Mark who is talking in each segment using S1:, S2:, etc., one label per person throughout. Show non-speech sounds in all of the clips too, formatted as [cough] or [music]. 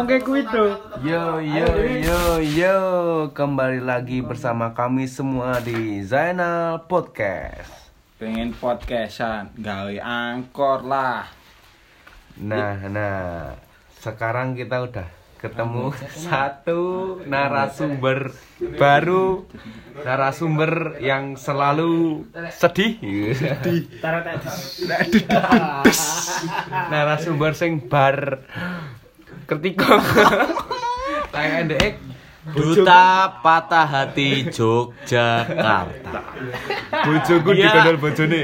S1: Oke, ku itu.
S2: Yo yo yo yo kembali lagi bersama kami semua di Zainal Podcast.
S3: pengen podcastan gawe angkor lah
S2: Nah nah sekarang kita udah ketemu satu narasumber baru narasumber yang selalu sedih [laughs] narasumber sing bar ketika kayak ndek
S4: Duta Patah Hati Yogyakarta.
S2: bojoku
S4: Iya.
S2: dikandel bojone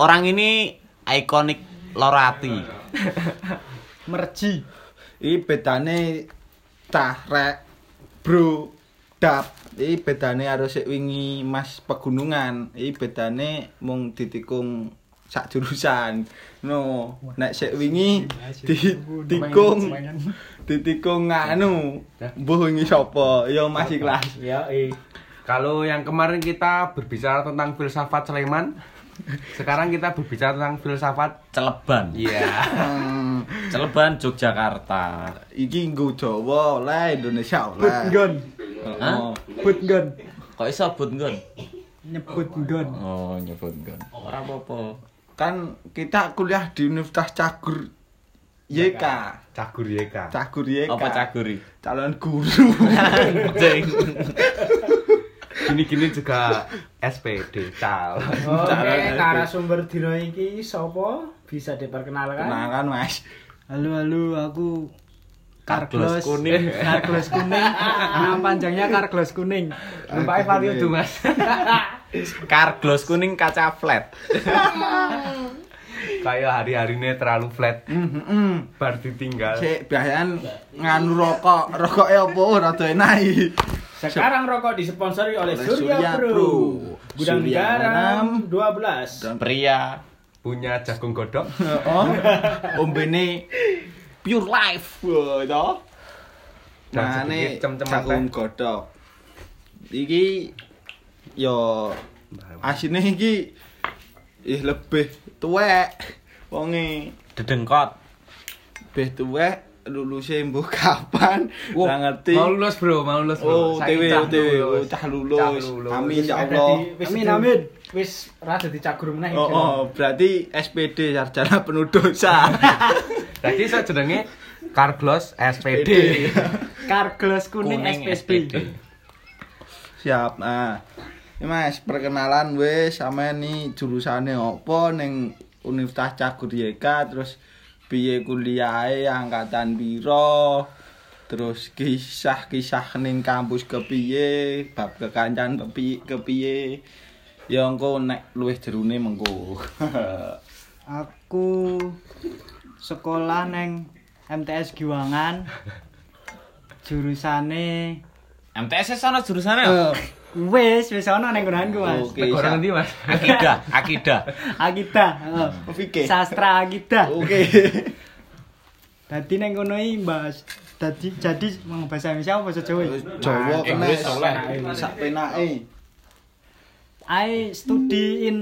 S4: Orang ini ikonik Lorati.
S1: Merci.
S3: i bedane tahrek bro dap i bedane harus wingi mas pegunungan i bedane mung ditikung sak jurusan no nek sik wingi ditikung ditikung nganu mbuh wingi sapa ya masih kelas
S1: Ya, eh.
S2: Kalau yang kemarin kita berbicara tentang filsafat Sleman, sekarang kita berbicara tentang filsafat
S4: Celeban.
S2: Iya.
S3: Hmm,
S4: Celeban Yogyakarta.
S3: iki nggo Jawa oleh Indonesia oleh
S1: Gun,
S4: Hah?
S3: Oh.
S1: but gun,
S4: Kok iso but nggon?
S1: nyebut gun.
S4: Oh, nyebut nggon. Ora apa-apa.
S3: kan kita kuliah di Universitas Cagur YK
S2: Cagur ya, YK.
S3: Cagur YK
S4: Apa caguri?
S3: calon guru
S4: Anjing.
S2: Gini-gini juga SPD cal.
S1: Oke, narasumber dino iki sapa? Bisa diperkenalkan?
S3: kenalan mas
S1: Halo, halo, aku Karglos
S4: Karglos kuning.
S1: Eh, Karglos kuning. Nama panjangnya Karglos kuning.
S2: Rupanya Vario tuh mas.
S4: Karglos kuning kaca flat.
S2: Kayak hari-hari ini terlalu flat. Bar ditinggal.
S3: si biasanya nganu rokok rokoknya apa rada enak iki.
S1: Sekarang rokok disponsori oleh
S3: Oleh
S1: Surya
S3: Surya
S1: Pro.
S3: Pro.
S1: Gudang
S3: Surya Ya
S1: garam
S3: Garam.
S1: 12.
S4: Pria
S2: Punya jagung godok.
S3: oh ombene
S4: pure life.
S3: wah to
S2: Dan
S3: nah ini
S2: sedikit cem-ceman
S3: jagung godok iki yo asine iki ih lebih tuwek wonge
S4: Dedengkot.
S3: lebih tuwek lulusnya mbuh kapan
S2: Wow,
S3: nggak ngerti
S2: Mau lulus bro, mau lulus bro.
S3: Oh,
S2: Saiki
S3: TW,
S2: cah
S3: TW,
S2: lulus.
S3: cah lulus. Amin ya Allah.
S1: Amin, amin. Wis ra dadi cagur meneh.
S3: Oh, oh, berarti SPD sarjana penuh dosa.
S2: Jadi saya jenenge Carglos SPD.
S1: Karglos kuning SPD.
S3: Siap. Nah, ini Mas, perkenalan wis sama nih jurusannya apa ning Universitas Cagur YK terus piye kuliahe angkatan piro terus kisah-kisah ning kampus kepiye bab kekancan kepi- kepiye ya engko nek luwih jerune mengko [laughs]
S5: Aku sekolah neng MTS Giwangan. Jurusane
S4: MTS sana jurusannya apa?
S3: Eh,
S5: wis wis ana neng nggonanku Mas.
S3: Oke,
S2: Nek orang
S3: siap.
S2: nanti mas.
S4: Akidah, akidah.
S5: Akidah, heeh.
S3: Fikih.
S5: Sastra akidah.
S3: Oke.
S5: Dadi neng kono iki Mas. Dadi jadi mau bahasa Indonesia apa bahasa Jawa?
S3: Jawa
S4: Inggris
S3: kena
S4: oleh.
S3: sak penake.
S5: I study in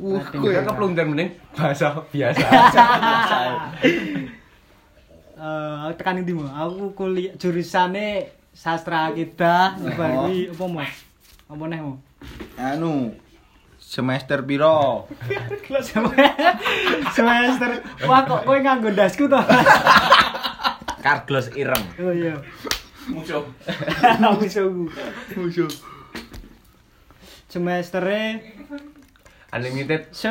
S3: Wuh,
S5: Uh.
S3: kowe
S2: Gue
S3: keplung.
S2: keplung dan mending bahasa biasa.
S5: eh tekan ndi Mo? Aku kuliah jurusane sastra akidah bar kuwi apa Mas? Apa neh Mo?
S3: Anu semester piro?
S5: [laughs] Semester. Wah kok kowe nganggo dasku to?
S4: Karglos ireng.
S5: Oh iya. [laughs] Musuh. Musuhku.
S3: Musuh.
S5: Semestere
S2: Unlimited
S5: se-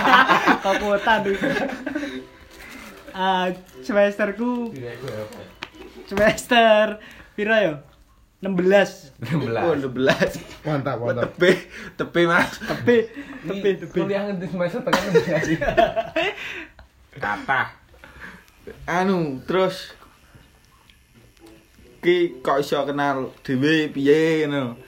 S5: [laughs] kok kuota tuh. Ah, semesterku semester piro yo? 16.
S2: 16.
S3: Oh, 12.
S6: Mantap, mantap.
S3: Tepe, tepe Mas.
S5: Tepi, tepi, tepi.
S2: kuliah nanti semester tengah nanti ngaji
S3: Kata. Anu, terus ki kok iso kenal dhewe piye ngono.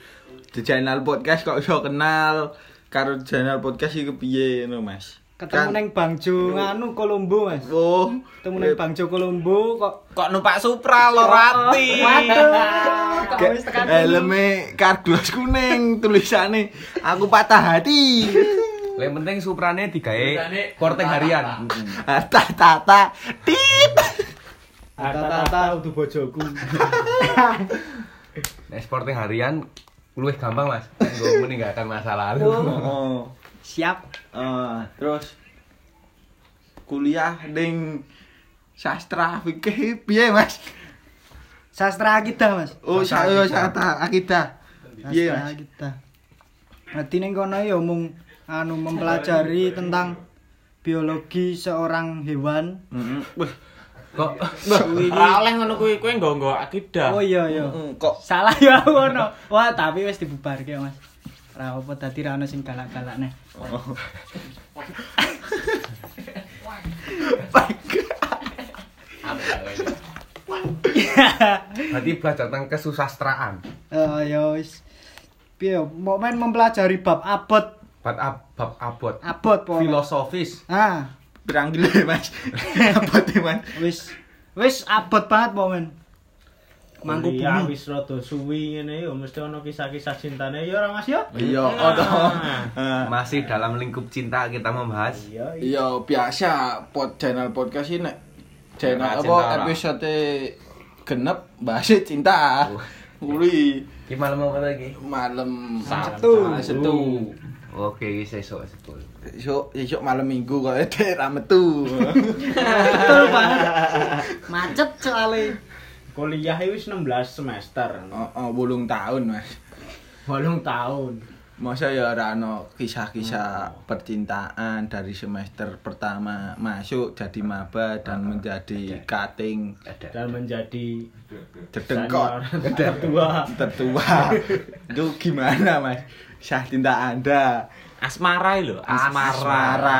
S3: Di channel podcast kok iso kenal karo channel podcast iki piye ngono, Mas?
S5: Ketemu neng Bangjo nganu Kolombo, Mas.
S3: Oh,
S5: Ketemu neng Bangjo Kolombo kok
S4: Kok numpak Supra Lorati?
S5: Waduh. Kok wis tekan.
S3: Helme kardus kuning tulisane aku patah
S5: [laughs]
S3: hati.
S2: yang penting
S3: Ah,
S2: suprane digawe korting harian
S3: Tata tata tit.
S5: Ah,
S1: Tata-tata udu bojoku.
S2: Nek sporting harian luwih gampang, Mas. Gue meninggalkan masa lalu.
S3: Oh.
S5: [laughs] Siap.
S3: Eh, terus kuliah ning sastra fikih piye, Mas?
S5: Sastra kita, Mas.
S3: Oh,
S2: Sastra
S3: saya
S2: akidah.
S3: sastra akidah. Piye,
S5: Sastra
S3: Mas?
S5: kita. Berarti ning kono ya mung anu mempelajari tentang biologi seorang hewan.
S3: Heeh. Wih,
S2: Kok
S4: Ora oleh ngono kuwi, kuwi nggo nggo
S3: Ah.
S4: akidah.
S5: Oh iya iya.
S3: heeh, kok
S5: Salah ya aku ono. Wah, tapi wis dibubarke, Mas. Ra apa dadi ra ono sing galak-galakne.
S2: berarti belajar tentang kesusastraan.
S5: Eh ya wis. Piye mau main mempelajari bab abot,
S2: Bab ab- bab abot.
S5: abot po.
S2: Filosofis.
S5: Ah,
S3: beranggil ya, Mas. [laughs] Apa tuh, Mas?
S5: wis wis abot banget po men. Mangku
S1: Kuliah
S5: bumi.
S1: wis rada suwi ngene yo mesti ono kisah-kisah cintane ya ora Mas yo?
S3: Iya, oh toh.
S5: Ah.
S3: Eh,
S2: Masih dalam lingkup cinta kita membahas.
S1: Iya. iya.
S3: Iya biasa pod channel podcast ini
S2: Nah,
S3: channel
S2: cinta
S3: apa
S2: orang.
S3: episode genep bahas cinta kuli
S2: Ki malam apa lagi?
S3: malam
S5: Sabtu.
S3: setu
S2: Ah, Oke, sesuk sesuk.
S3: esok esok malam minggu kok [laughs] ede ra metu
S5: Betul banget. Macet soalnya.
S1: Kuliah wis 16 semester.
S3: oh, oh, bolong tahun mas
S1: 8 tahun.
S3: masa ya ora ono kisah-kisah percintaan dari semester pertama masuk jadi maba dan menjadi cutting
S2: Ada.
S1: Ah, dan menjadi
S3: dedengkot
S1: senior tertua.
S3: tertua itu gimana mas kisah cinta anda
S4: Asmara lho, asmara.
S3: asmara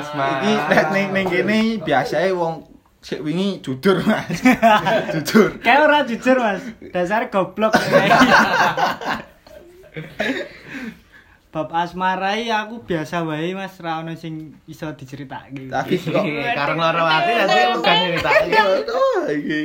S3: asmara iki nek ning ning kene biasae wong sik wingi jujur mas [laughs] jujur
S5: Kayak ora jujur, Mas. Dasar goblok. Bab asmara iki aku biasa wae Mas, ra ono sing iso diceritake.
S3: tapi kok
S1: Iya.
S2: Karena loro ati nanti bukan cerita.
S3: Oh, iki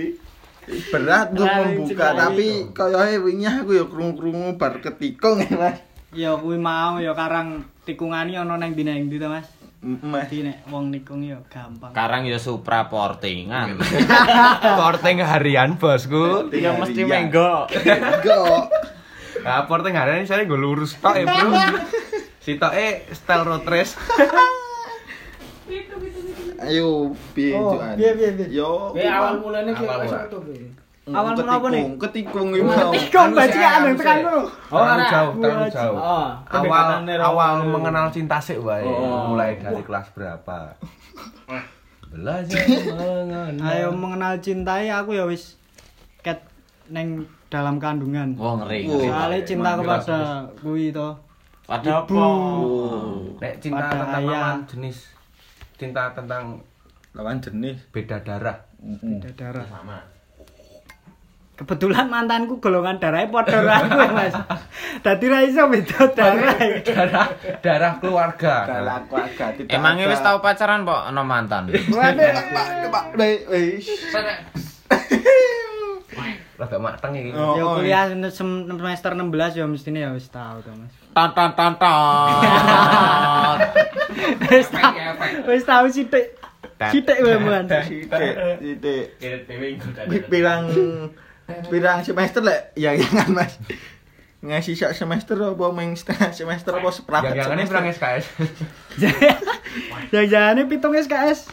S3: berat untuk
S5: Lah,
S3: membuka
S5: cerita
S3: tapi koyoke wingi aku ya krungu-krungu bar ketikung ya, mas
S5: Ya kuwi mau ya karang tikungani ono nang ndi nang ndi to, Mas.
S3: M- mas
S5: Dadi nek wong nikung ya gampang.
S4: Karang ya supra portingan.
S2: Porting harian, Bosku.
S3: Iya, mesti
S4: Menggo.
S3: kok
S2: Nah, porting harian ini saya gue lurus tok ya, Bro. Sitoke style road race.
S3: ayo piye
S5: Oh,
S3: Joan?
S5: piye, piye, piye?
S3: yo
S1: Kuwi awal mulane ki
S2: Awal
S1: wis
S2: mula.
S1: satu kuwi.
S5: Awal mula apa nih?
S3: ketikung ketikung iki mau
S5: Tikung
S2: Anu sih,
S5: bajingan
S2: anu
S5: nang tekan
S2: sih.
S5: kono.
S2: Terlalu
S1: ora.
S2: jauh, terlalu
S5: gua-
S2: jauh.
S1: Oh,
S2: awal
S1: pendekatane ora.
S2: awal mengenal cinta sih wae
S3: Oh.
S2: mulai dari kelas berapa ya.
S1: [laughs]
S2: belajar mengenal
S5: Ayo mengenal cintai aku ya wis ket neng dalam kandungan.
S4: Wong ngeri.
S3: Wow.
S5: Soalnya cinta
S2: Manggil
S5: kepada kuwi to.
S4: Padha
S5: Ibu.
S4: apa?
S2: Nek cinta
S5: Pada
S2: tentang
S5: ayah.
S2: lawan jenis cinta tentang
S3: lawan jenis
S2: beda darah
S5: Beda darah. Kebetulan mantanku golongan darahnya padha karo aku ya, Mas. Dadi ra iso beda darah.
S2: darah darah keluarga
S3: dalam keluarga tidak
S4: Emangnya
S3: ada-
S4: wis tau pacaran kok ono mantan.
S3: Waduh, Pak, Pak, wis.
S2: rada mateng iki
S3: Oh,
S5: Ya
S3: oh,
S5: kuliah sem- semester 16 ya mestine ya wis tau to, Mas.
S4: Tan tan tan tan.
S5: Wis tau. Wis tau sithik. Sithik wae man. [laughs]
S3: Titik, titik. Pi- Pirang pirang semester lek ya jangan Mas. Ngasih sak semester apa main setengah semester apa seperangkat
S2: yang ini
S3: semester?
S2: perang SKS
S5: Yang jane pitung SKS.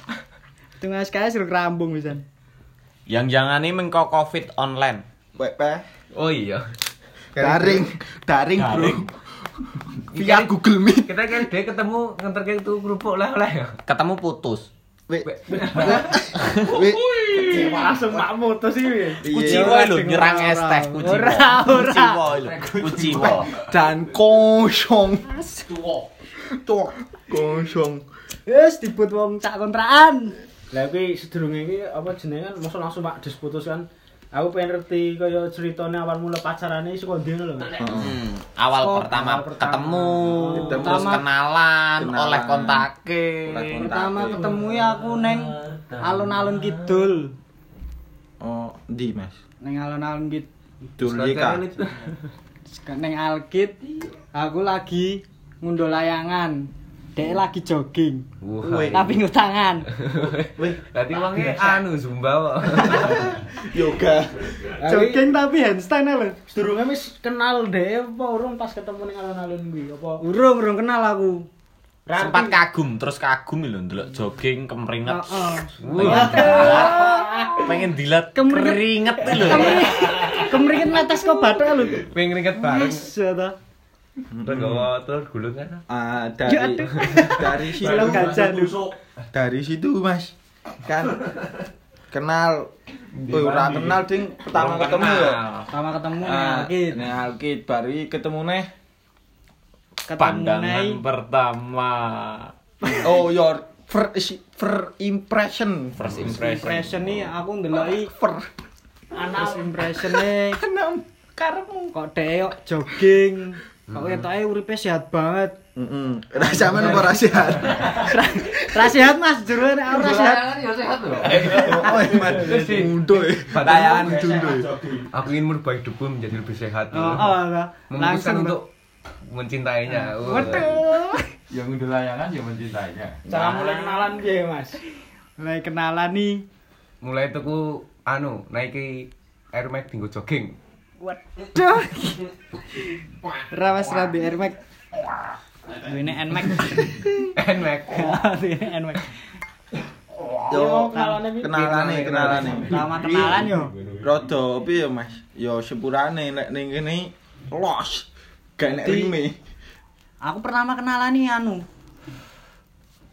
S5: Pitung SKS ruk rambung pisan.
S4: Yang jangan ini mengko covid online.
S3: Pepe.
S2: oh iya
S3: Daring, daring, Bro.
S4: Daring.
S3: Via Google Meet.
S2: [laughs] kita kan dia ketemu nganter kayak itu kerupuk lah lah ya
S4: Ketemu putus.
S3: Wek. Wek.
S1: Langsung mak mutus iki.
S3: Iya.
S4: Kuciwo lho nyerang es teh kuciwo.
S5: Ora, ora.
S4: Kuciwo lho. Kuciwo.
S3: Dan kosong. Tuh. Kosong.
S5: Wis dibut wong cak kontrakan.
S1: Lah kuwi sedurunge iki apa jenenge kan mosok langsung mak disputus kan. Aku pengen ngerti kaya ceritane awal mula pacarane saka ndi ngono lho.
S4: Hmm, Awal
S5: Oh,
S4: pertama
S1: awal pertama.
S4: ketemu,
S3: Ketemu.
S4: terus kenalan,
S3: Kenalan.
S4: oleh kontake.
S3: Oleh kontak.
S5: Pertama ketemu ya aku neng alun-alun kidul.
S3: Oh, di Mas.
S5: Neng alun-alun kidul.
S3: Dulika.
S5: Neng Alkit aku lagi ngunduh layangan. Dek lagi jogging.
S2: Wah.
S3: Weh.
S5: Tapi ngutangan.
S3: Wih,
S2: Tadi wangnya anu zumba kok.
S3: yoga.
S5: Jogging
S1: Jogging.
S5: tapi handstand lho.
S1: Sedurunge wis kenal deh apa urung pas ketemu ning alun-alun kuwi apa?
S5: Urung urung kenal aku.
S1: Rati-
S4: Sempat kagum, terus kagum lho ndelok jogging kemringet.
S5: Heeh.
S4: Pengen dilat
S5: Kemringet.
S4: keringet lho.
S5: Kemringin netes kok bathok lho.
S2: Pengen ringet bareng.
S5: Wis ya ta.
S2: Terus gawa telur gulung kan.
S3: Ah, dari
S5: aduh.
S3: dari situ
S5: Film gajah lho.
S3: dari situ Mas. Kan kenal Wih, ora kenal ding pertama ketemu ya.
S5: Pertama ketemu
S3: Ah,
S5: nyakit.
S3: Ning Alkit baru iki ketemu neh.
S5: Ketemu
S4: Pandangan
S5: nai.
S4: pertama.
S3: [laughs] Oh, your first first impression.
S4: First impression.
S5: Impression nih aku ndeloki
S3: First
S5: first impression nih
S3: enam karepmu.
S5: kok dek e kok jogging. Kok ketoke uripe sehat banget.
S3: Heeh. Rasamen apa [laughs] rasihan?
S5: Ra sehat Mas, jero nek aku ra sehat.
S3: Oh, Mas. Mundur.
S2: Batayan
S3: Mundur.
S2: Aku ingin merubah hidupku menjadi lebih sehat.
S5: Oh, oh, ta.
S2: Memutuskan untuk mencintainya. Wah.
S5: Waduh.
S6: yang udah layangan ya mencintainya
S1: Cara mulai kenalan piye, Mas?
S5: Mulai kenalan nih.
S2: Mulai tuku anu naiki Air Max tinggal jogging. [laughs]
S5: Waduh. Rawas rabi Nmax. Ini Nmax.
S2: Air Max.
S5: Ini Nmax.
S3: Yo,
S1: kenalane piye?
S3: kenalane, kenalane.
S5: Lama kenalan yo.
S3: Rodo piye Mas? Yo sepurane nek ning kene los. Gak nek
S5: Jadi-
S3: rime.
S5: Aku pertama kenalan nih anu.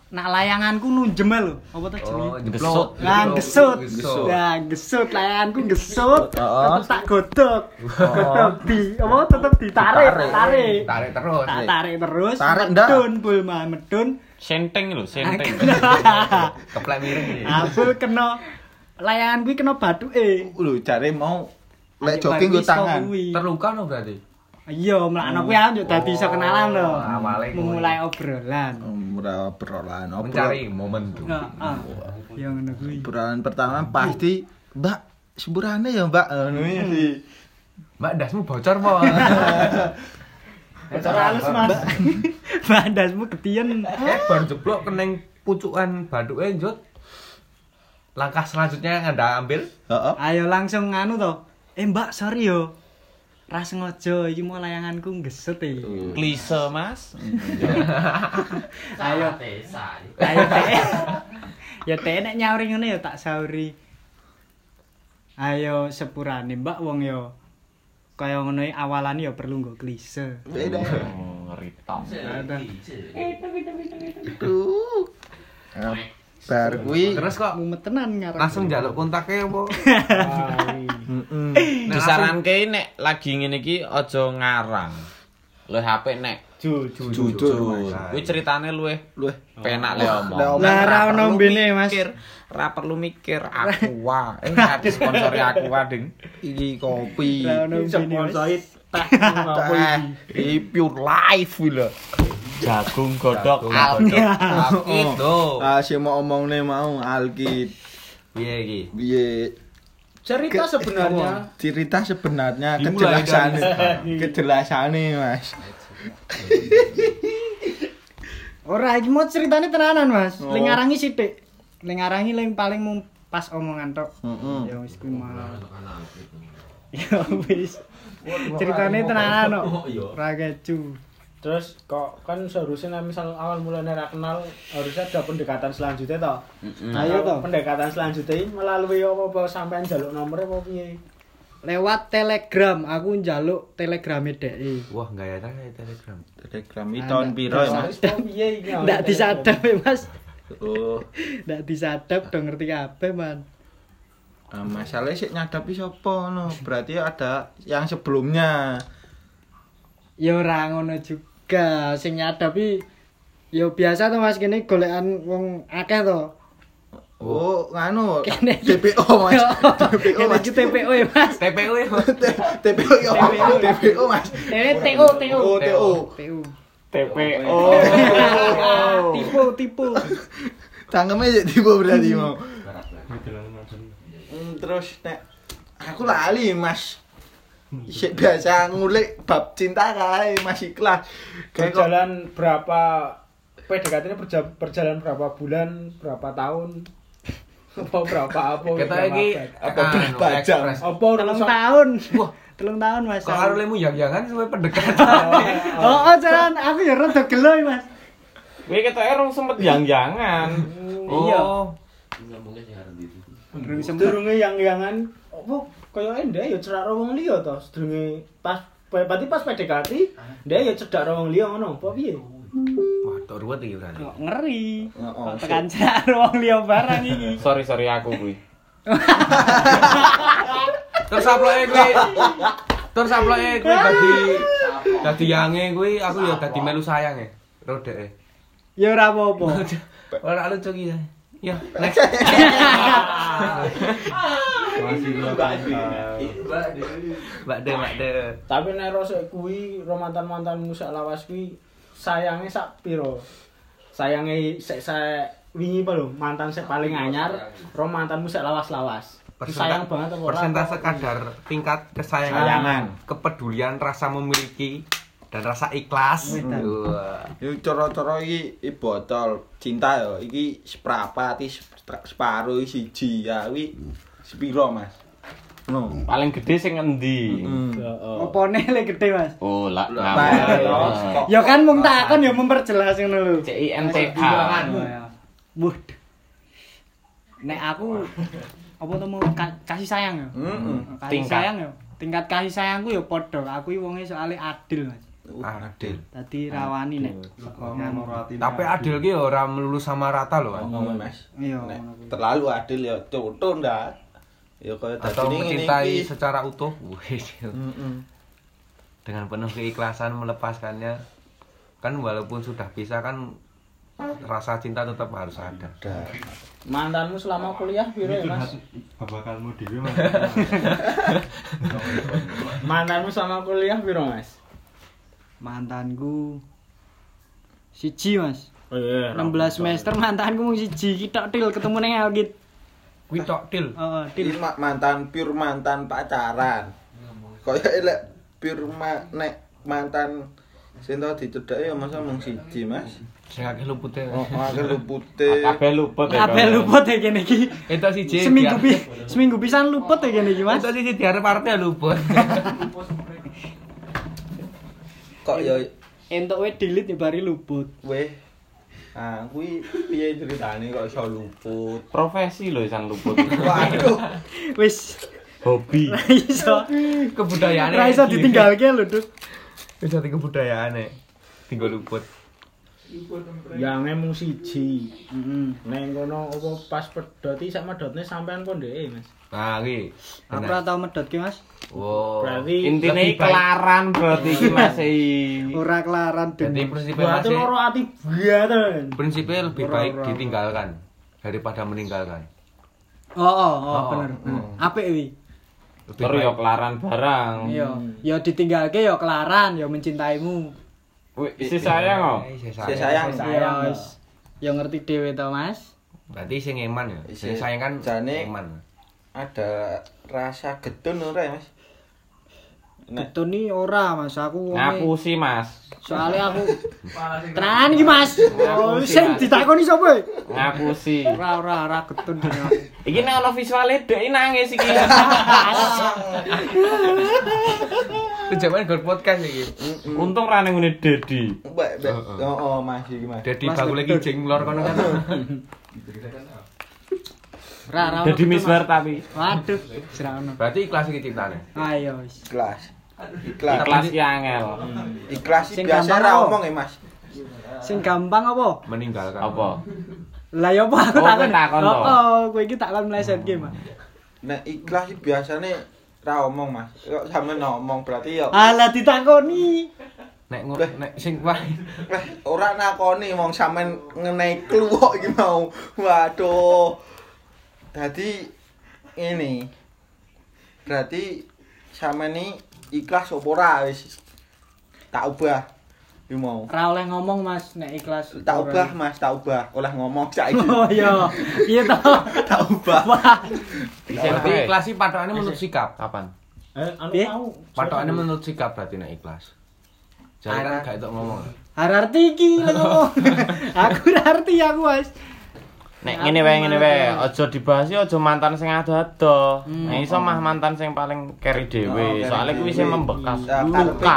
S5: Nak layanganku nunjem ae lho. Apa tuh jenenge?
S2: Oh,
S4: Gesot.
S2: jeblok.
S5: Nah, gesut.
S2: Gesot.
S5: Nah, gesut layanganku gesut.
S6: Oh,
S3: Heeh.
S5: Tetep tak godhog. Tetep di apa tetep ditarik,
S3: Ditarik.
S5: tarik.
S2: Tarik terus.
S5: Tak tarik terus.
S3: Tarik ndak?
S5: medun, bulma medun.
S4: Senteng lho, senteng.
S2: Keplek miring iki.
S5: [laughs] Aku kena layangan kuwi kena bathuke.
S3: Lho, jare mau lek jogging nggo tangan.
S2: Terluka no berarti.
S5: Iya, mlakno kuwi aku juga dadi iso kenalan lho.
S2: Oh, awalnya kuwi. Oh.
S5: Memulai obrolan.
S3: Ora perolaan opo.
S2: Mencari momentum.
S5: Heeh. Ya ngono kuwi.
S3: Obrolan pertama pasti Mbak sepurane ya Mbak. Hmm. Ngono iki.
S2: Mbak dasmu bocor mau.
S1: Cara halus, Mas.
S5: [laughs] Bandasmu getien.
S2: Eh baru jeblok keneng pucukan baduke njut. Langkah selanjutnya yang Anda ambil
S3: Heeh.
S5: Ayo langsung nganu to. Eh Mbak, sorry yo. Ra sengaja iki mau layanganku e. ngeset iki.
S4: Klise, Mas.
S5: Ayo. Ayo teh. ya teh nek nyauri ngene ya tak sauri. Ayo sepurane Mbak wong yo kaya ngono iki awalane ya perlu nggo klise.
S3: Beda.
S4: Oh, Ritam.
S5: Ada.
S3: Duh. Nah, Bar kuwi
S2: terus kok
S5: Mumet tenan ngarep.
S2: langsung jaluk kontaknya apa?
S3: heeh.
S4: Disaranke nek lagi ngene iki aja ngarang. Luwih apik nek
S1: Jujur.
S3: Jujur.
S4: kuwi ceritane luwih
S3: Luwih
S4: penak le omong.
S3: Lah, omong
S5: Lah ra
S4: Ra
S5: ono
S4: perlu
S5: mbene, Mas.
S4: mikir, ra perlu mikir aku wae. Eh habis sponsori aku wae, Ding.
S3: iki kopi.
S5: Ra ono mbene. Mas.
S1: Sponsori teh apa
S3: Eh,
S1: iki?
S3: Iki pure life kuwi lho.
S4: Jagung
S2: Jagung
S4: godhog almit.
S3: Alkit.
S4: Itu.
S3: Ah, sing mau omongne mau Alkit.
S2: Iya iki.
S3: Piye?
S1: Cerita sebenarnya
S3: cerita sebenarnya
S4: Dimulai
S3: kejelasan
S4: dari
S3: kejelasan mas
S5: Ora iki mau ceritane tenanan, Mas.
S3: Oh.
S5: Ling ngarangi sithik. Ling ngarangi ling paling mung pas omongan tok.
S3: Heeh.
S5: Ya wis kuwi mah. Ya wis. Ceritane tenanan kok. Ora kecu.
S1: terus kok kan seharusnya nek misal awal mulanya ra kenal harusnya ada pendekatan selanjutnya toh.
S5: Ayo toh.
S1: Pendekatan selanjutnya ini melalui apa-apa sampean jaluk nomornya apa piye?
S5: lewat telegram aku njaluk telegram DE
S2: Wah, gaya ta kayak Telegram.
S3: telegram itu tahun piro ya mas
S1: Wis apa piye iki?
S5: ndak disadap ya mas
S3: oh
S5: ndak disadap dong ngerti kabeh man
S3: ah, masalahnya sih nyadapi sopo no berarti ada yang sebelumnya
S5: ya ora ngono juga sing nyadapi ya biasa tuh mas kene golekan wong akeh to
S3: oh nganu
S5: Kene.
S3: [laughs] TPO Oh, mas
S5: [laughs]
S3: [laughs] TPO
S5: kene
S3: mas
S5: iki TPO ya mas
S2: TPU ya.
S3: TPO ya TPO mas
S5: ini TO TO
S3: oh TO
S5: TO
S4: TPO.
S5: [laughs] tipu tipu
S3: tanggungnya jadi tipe berarti mau Hmm, terus nek aku lali mas Sik biasa ngulik bab cinta kae mas ikhlas kayak kok
S1: Berjalan berapa PDKT-nya berja- berjalan berapa bulan, berapa tahun? [laughs] Apa berapa apa?
S2: Kita
S1: berapa
S2: iki
S1: abad?
S3: Apa
S2: anu,
S3: berapa jam?
S2: ekspres.
S1: apa
S5: telung
S1: urusan
S5: tahun
S2: Wah.
S5: telung tahun mas
S2: Kok karo lemu yang-yangan suwe pendekatan.
S5: oh oh jalan aku ya rada gelo iki, mas
S4: Kowe ketoke rung sempet yang-yangan.
S5: Iya.
S2: Oh.
S5: Durung sempet.
S1: sedurunge yang-yangan apa kaya ndek ya cedak karo wong liya to sedurunge pas berarti pas PDKT ndek ya cedak karo wong liya ngono apa piye
S2: Wah, tok ruwet iki berarti.
S5: Kok ngeri
S3: Heeh.
S5: kok tekan [laughs] jar wong liya barang iki
S4: Sorry sorry aku kuwi.
S2: Terus aploke kuwi. Terus aploke kuwi dadi dadi yange kuwi aku ya dadi melu e, sayange. Rodeke.
S5: ya ora apa-apa
S2: Ora lucu iki. Ya, next.
S6: Masih belum
S2: Mbak De, Mbak De.
S1: tapi nek ro sik kuwi ro mantan-mantanmu sak lawas kuwi sayange sak piro sayange sik sik wingi apa lho mantan sik paling anyar ro mantanmu sik lawas-lawas sayang banget apa ora?
S2: persentase kadar tingkat kesayangan,
S3: Kesayangan.
S2: kepedulian, rasa memiliki dan rasa ikhlas.
S5: Wedan.
S2: Wah.
S3: Iki cara-cara iki iki botol cinta yo. Iki seprapat, iki sepra- separo, iki siji ya. Iki sepiro, Mas? No.
S4: Paling gede sing endi?
S1: Heeh.
S5: opone le gede mas
S4: Oh, lak
S3: Baik, Mas.
S4: ngawur.
S3: Kok-
S5: ya kan mung takon ya memperjelas ngono lho
S4: CIMTA.
S5: Waduh. Nek aku apa to mau ka- kasih sayang ya?
S3: Heeh.
S5: Kasih
S4: Tingkat.
S5: sayang ya. Tingkat kasih sayangku ya padha. Aku iki wonge soalé adil, Mas.
S2: Adil.
S5: Tadi rawani nek.
S2: Tapi adil ki ya ora melulu sama rata loh. Kan.
S3: Ngomong, Mas.
S5: Iya.
S3: Nek
S5: ngono kuwi.
S3: terlalu adil ya cutun dah. Ya kaya
S2: Atau
S3: dadi ngene
S2: mencintai
S3: iki.
S2: secara utuh. Wih. gitu.
S3: Heeh.
S2: Dengan penuh keikhlasan melepaskannya. Kan walaupun sudah pisah kan rasa cinta tetap harus ada.
S1: mantanmu selama kuliah piro ya Mas
S6: Babakanmu dhewe Mas.
S1: [laughs] mantanmu selama kuliah piro Mas
S5: Mantanku siji, Mas.
S1: Eh,
S5: 16 semester mantanku mung siji iki tok til ketemu ning Alkit.
S2: Kuwi tok til.
S5: Heeh, Oh, til.
S3: Iki ma- mantan pure mantan pacaran. Kaya elek pure ma- nek mantan sing tau dicedhaki ya masa mung siji, Mas.
S2: Sing akeh lupute.
S3: Oh, akhir putih.
S4: Kabeh luput ya.
S5: Kabeh luput ya kene iki.
S2: Itu siji.
S5: Seminggu
S2: diar-
S5: pi seminggu pisan luput ya kene iki, Mas.
S2: Itu siji diarep-arep ya luput. [laughs]
S3: Kok ya
S5: Entuk we delete ya bari luput.
S3: weh ah kuwi piye ceritane kok iso luput
S4: Profesi lho sang
S5: [laughs]
S4: luput.
S3: waduh
S5: Wis
S4: Hobi.
S5: ra iso.
S2: Kebudayaane.
S5: Ra iso ditinggalke lho, Dut.
S2: Wis ati kebudayaane. Tinggal luput.
S1: Yange mung siji.
S5: Heeh.
S1: Neng kono apa pas pedoti sak medhotne sampean kok ndek, Mas.
S2: Nah, iki.
S5: Aku ora tau medhot ki, Mas.
S2: Wow.
S1: Berarti-
S4: Intine
S2: Lebih baik.
S4: kelaran berarti iki Mas.
S5: Ora kelaran
S2: Berarti
S5: den.
S2: prinsipnya ya.
S1: Berarti
S2: masih
S1: loro ati buatan.
S2: prinsipnya lebih baik ditinggalkan daripada meninggalkan.
S5: Oh, oh, oh,
S2: Oh,
S5: bener. Apik iki.
S2: Lebih
S4: Terus ya
S2: baik.
S4: kelaran barang.
S5: Iya. Ya ditinggalke ya kelaran, ya mencintaimu.
S4: Wih, isi sayang oh. kok.
S2: Eh, saya
S3: saya
S2: sayang.
S3: sayang
S5: Ya wis. Ya ngerti dhewe to, Mas.
S2: Berarti sing eman ya. Sing
S3: Isi-
S2: sayang kan
S3: jane-
S2: eman.
S3: ada rasa gedun ora ya, Mas Nek-
S5: Betul nih ora, Mas. Aku
S4: Ngaku
S5: wonge
S4: sih Mas.
S5: soalnya aku tenan iki, Mas. Oh, sing ditakoni sapa?
S4: Ngaku sih.
S5: Ora, ora, ora getun dene.
S4: Iki nek ana visuale dek iki nangis [laughs] iki.
S2: Itu jaman gol podcast iki.
S4: Untung ra ning ngene Dedi.
S3: mbak mbak oh oh Mas iki Mas
S2: Dadi
S5: Mas,
S2: bakul iki
S5: betul.
S2: jeng lor kono
S3: [laughs]
S2: kan.
S5: Ora, ora.
S4: Dedi
S5: ketun,
S4: Miswar
S5: Mas.
S4: tapi
S5: Waduh, jerakno.
S2: Berarti ikhlas iki cintane.
S5: Ayo wis.
S3: ikhlas ikhlas
S4: kelas ki angel.
S3: ikhlas
S5: Sing
S3: sih biasa
S5: gampang
S3: ra
S5: apa?
S3: omong ya Mas
S5: Sing gampang apa?
S2: Meninggalkan.
S4: Apa?
S5: Lah ya apa aku
S4: Oh,
S5: takon.
S4: kowe takon
S5: Oh,
S4: toh?
S5: oh, kowe iki takon melesetke, Mas.
S3: nek ikhlas sih biasane ra omong Mas kok sampe ngomong berarti ya
S5: Alah ditakoni.
S2: Nek ngo-
S3: Lah.
S2: nek sing wah.
S3: Wah, ora nakoni wong sampean ngenai clue kok iki mau. Waduh. Dadi ini. Berarti sampean ni ikhlas apa ora wis tak ubah. Iki mau.
S5: Ora oleh ngomong, Mas, nek ikhlas.
S3: Tak ubah Mas, tak ubah. Oleh ngomong saiki.
S5: [laughs] Oh iya. Iya toh.
S3: tak ubah.
S5: Wah,
S2: Berarti ikhlas iki patokane menurut sikap. Kapan?
S1: Eh, anu
S5: Piye?
S1: tau.
S2: Patokane menurut sikap berarti nek ikhlas. Jadi kan gak itu ngomong.
S5: Hararti iki lho ngomong. aku hararti aku wis.
S4: Nek
S5: Aku
S4: ngene wae ngene wae,
S5: mantan.
S4: aja dibahas ya aja mantan sing ado-ado. Nah iso mah mantan sing paling keri dhewe.
S3: keri
S4: Soale kuwi sing
S3: dhewe.
S4: membekas
S3: Nah, karepe
S4: luka.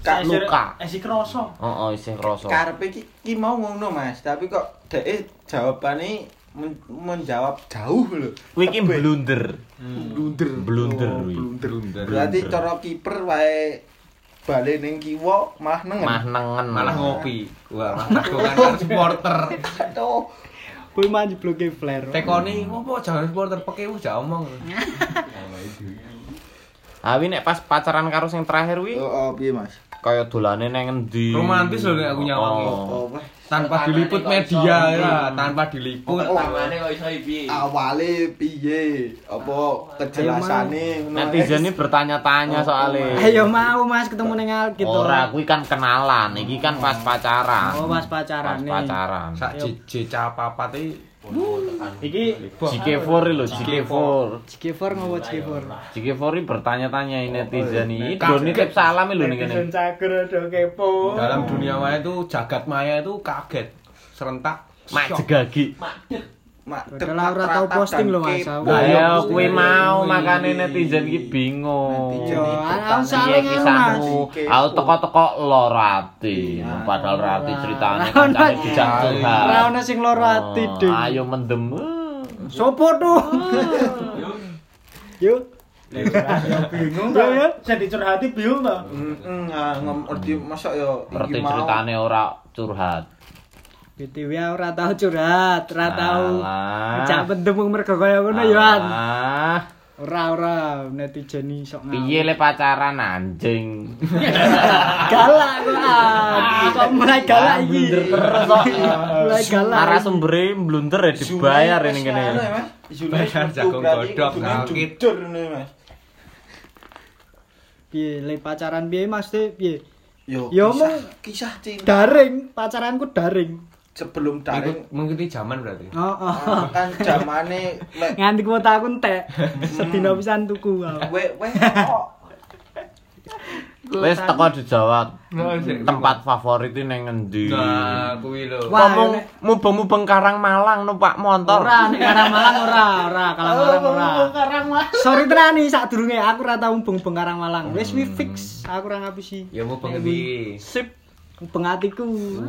S3: iki ka-
S4: Luka.
S1: Esi kroso.
S4: Heeh, Oh, isih krasa.
S3: karepe iki ki mau ngono Mas, tapi kok dhek jawabane men- menjawab jauh lho.
S4: Kuwi iki
S3: Tebel.
S4: blunder.
S3: blunder.
S4: Hmm. Blunder,
S3: Oh,
S4: wih.
S3: blunder.
S6: Blunder.
S3: Berarti cara kiper wae bali ning kiwa Hmm. malah nengen.
S4: Mah nengen
S2: Malah
S4: malah.
S2: ngopi. Wah, aku kan supporter.
S3: Aduh.
S5: Kuwi mah jebloke flare.
S2: Tekoni ngopo jangan supporter peke wis gak
S3: [laughs]
S2: omong.
S4: Ah kuwi nek pas pacaran karo sing terakhir kuwi
S3: Oh, oh, piye Mas?
S4: kaya dolane nang ngendi.
S2: Romantis lho nek aku nyawangi.
S4: Oh.
S3: Oh, wah.
S2: Tanpa diliput media ya, tanpa diliput.
S3: Oh,
S7: kok iso iki.
S3: awale piye? Apa kejelasane ngono,
S4: Netizen
S3: Mas?
S4: ini bertanya-tanya soalnya.
S5: Ayo mau Mas ketemu ning Alkit oh, gitu.
S4: Ora kuwi kan kenalan, iki kan pas pacaran.
S5: Oh, pas pacaran
S4: Pas
S5: nih.
S4: pacaran.
S2: Sak
S5: Ya.
S2: jeca papat iki
S1: Iki
S4: JK4 lho, JK4.
S5: Cikefor ngopo Cikefor?
S4: JK4 ini bertanya-tanya ini netizen ini. Don nitip salam lho ning kene.
S1: netizen cager aduh kepo.
S5: Oh.
S2: dalam dunia maya itu jagat maya itu kaget serentak
S4: Mak
S2: shock.
S4: jegagi.
S3: Mak,
S5: Padahal ora tau
S3: tertata
S5: posting
S3: dan
S5: lho, Mas,
S3: kepo.
S5: aku.
S4: Lah
S2: Ayo,
S4: ya kowe
S2: kuwi.
S4: mau makane netizen ki bingung.
S3: Netizen.
S5: Yo, aku
S4: Iya
S5: saling Mas.
S4: kisahmu,
S3: Mas.
S4: aku teko-teko lor ati. Padahal lor ati ceritane
S5: Ora ono-
S4: kancane dijak Tuhan.
S5: Ora ono sing loro ati,
S4: Oh,
S5: Ding.
S4: Ayo mendem.
S5: Sopo tuh? [laughs] Yuk.
S1: Ya bingung
S5: Iya, iya.
S1: ta. Jadi curhati bingung ta.
S3: Heeh, ngerti masuk ya
S4: Hmm. Ngerti ceritane ora curhat.
S5: BTW aku ora tau curhat, ora tau.
S4: Alah.
S5: Cak pendemung mergo kaya ngono yo an.
S4: Ah,
S5: Ora ora netizen iki sok ngawur.
S4: piye le pacaran anjing.
S5: [laughs] Galak kok. An.
S4: [laughs]
S5: Kok mulai galak iki.
S4: Terus kok
S5: [laughs] Mulai galak.
S4: narasumbere blunder ya dibayar ini
S3: kene.
S4: kene.
S2: Bayar jagung godhog, ngawit.
S3: Jujur ngene, Mas.
S5: Piye le pacaran piye Mas Teh? Piye?
S3: Yo,
S5: Yo,
S3: kisah,
S5: Mas.
S3: kisah cinta
S5: Daring, pacaranku
S4: [laughs]
S5: daring.
S3: sebelum
S2: Ikut
S3: daring
S2: mengikuti zaman berarti
S5: Oh, oh.
S3: ah, kan zamane lek
S5: Nganti kuota aku
S4: [laughs]
S5: entek. Sedina pisan tuku aku.
S3: we we kok
S4: Wis teko dijawab.
S2: Nah, sik.
S4: Tempat favorit ini neng ngendi?
S2: nah kuwi lho
S5: Wah,
S4: Ngomong
S5: nek-
S4: mubeng-mubeng Karang Malang no Pak Montor.
S5: Ora, nek Karang Malang ora, ora, Karang Malang ora. Sorry tenan nih sak durunge aku ora tau bung-bung Karang Malang. Wis wi fix, aku ora ngapusi.
S2: ya mau pengendi
S5: Sip. Bung atiku.
S2: [laughs]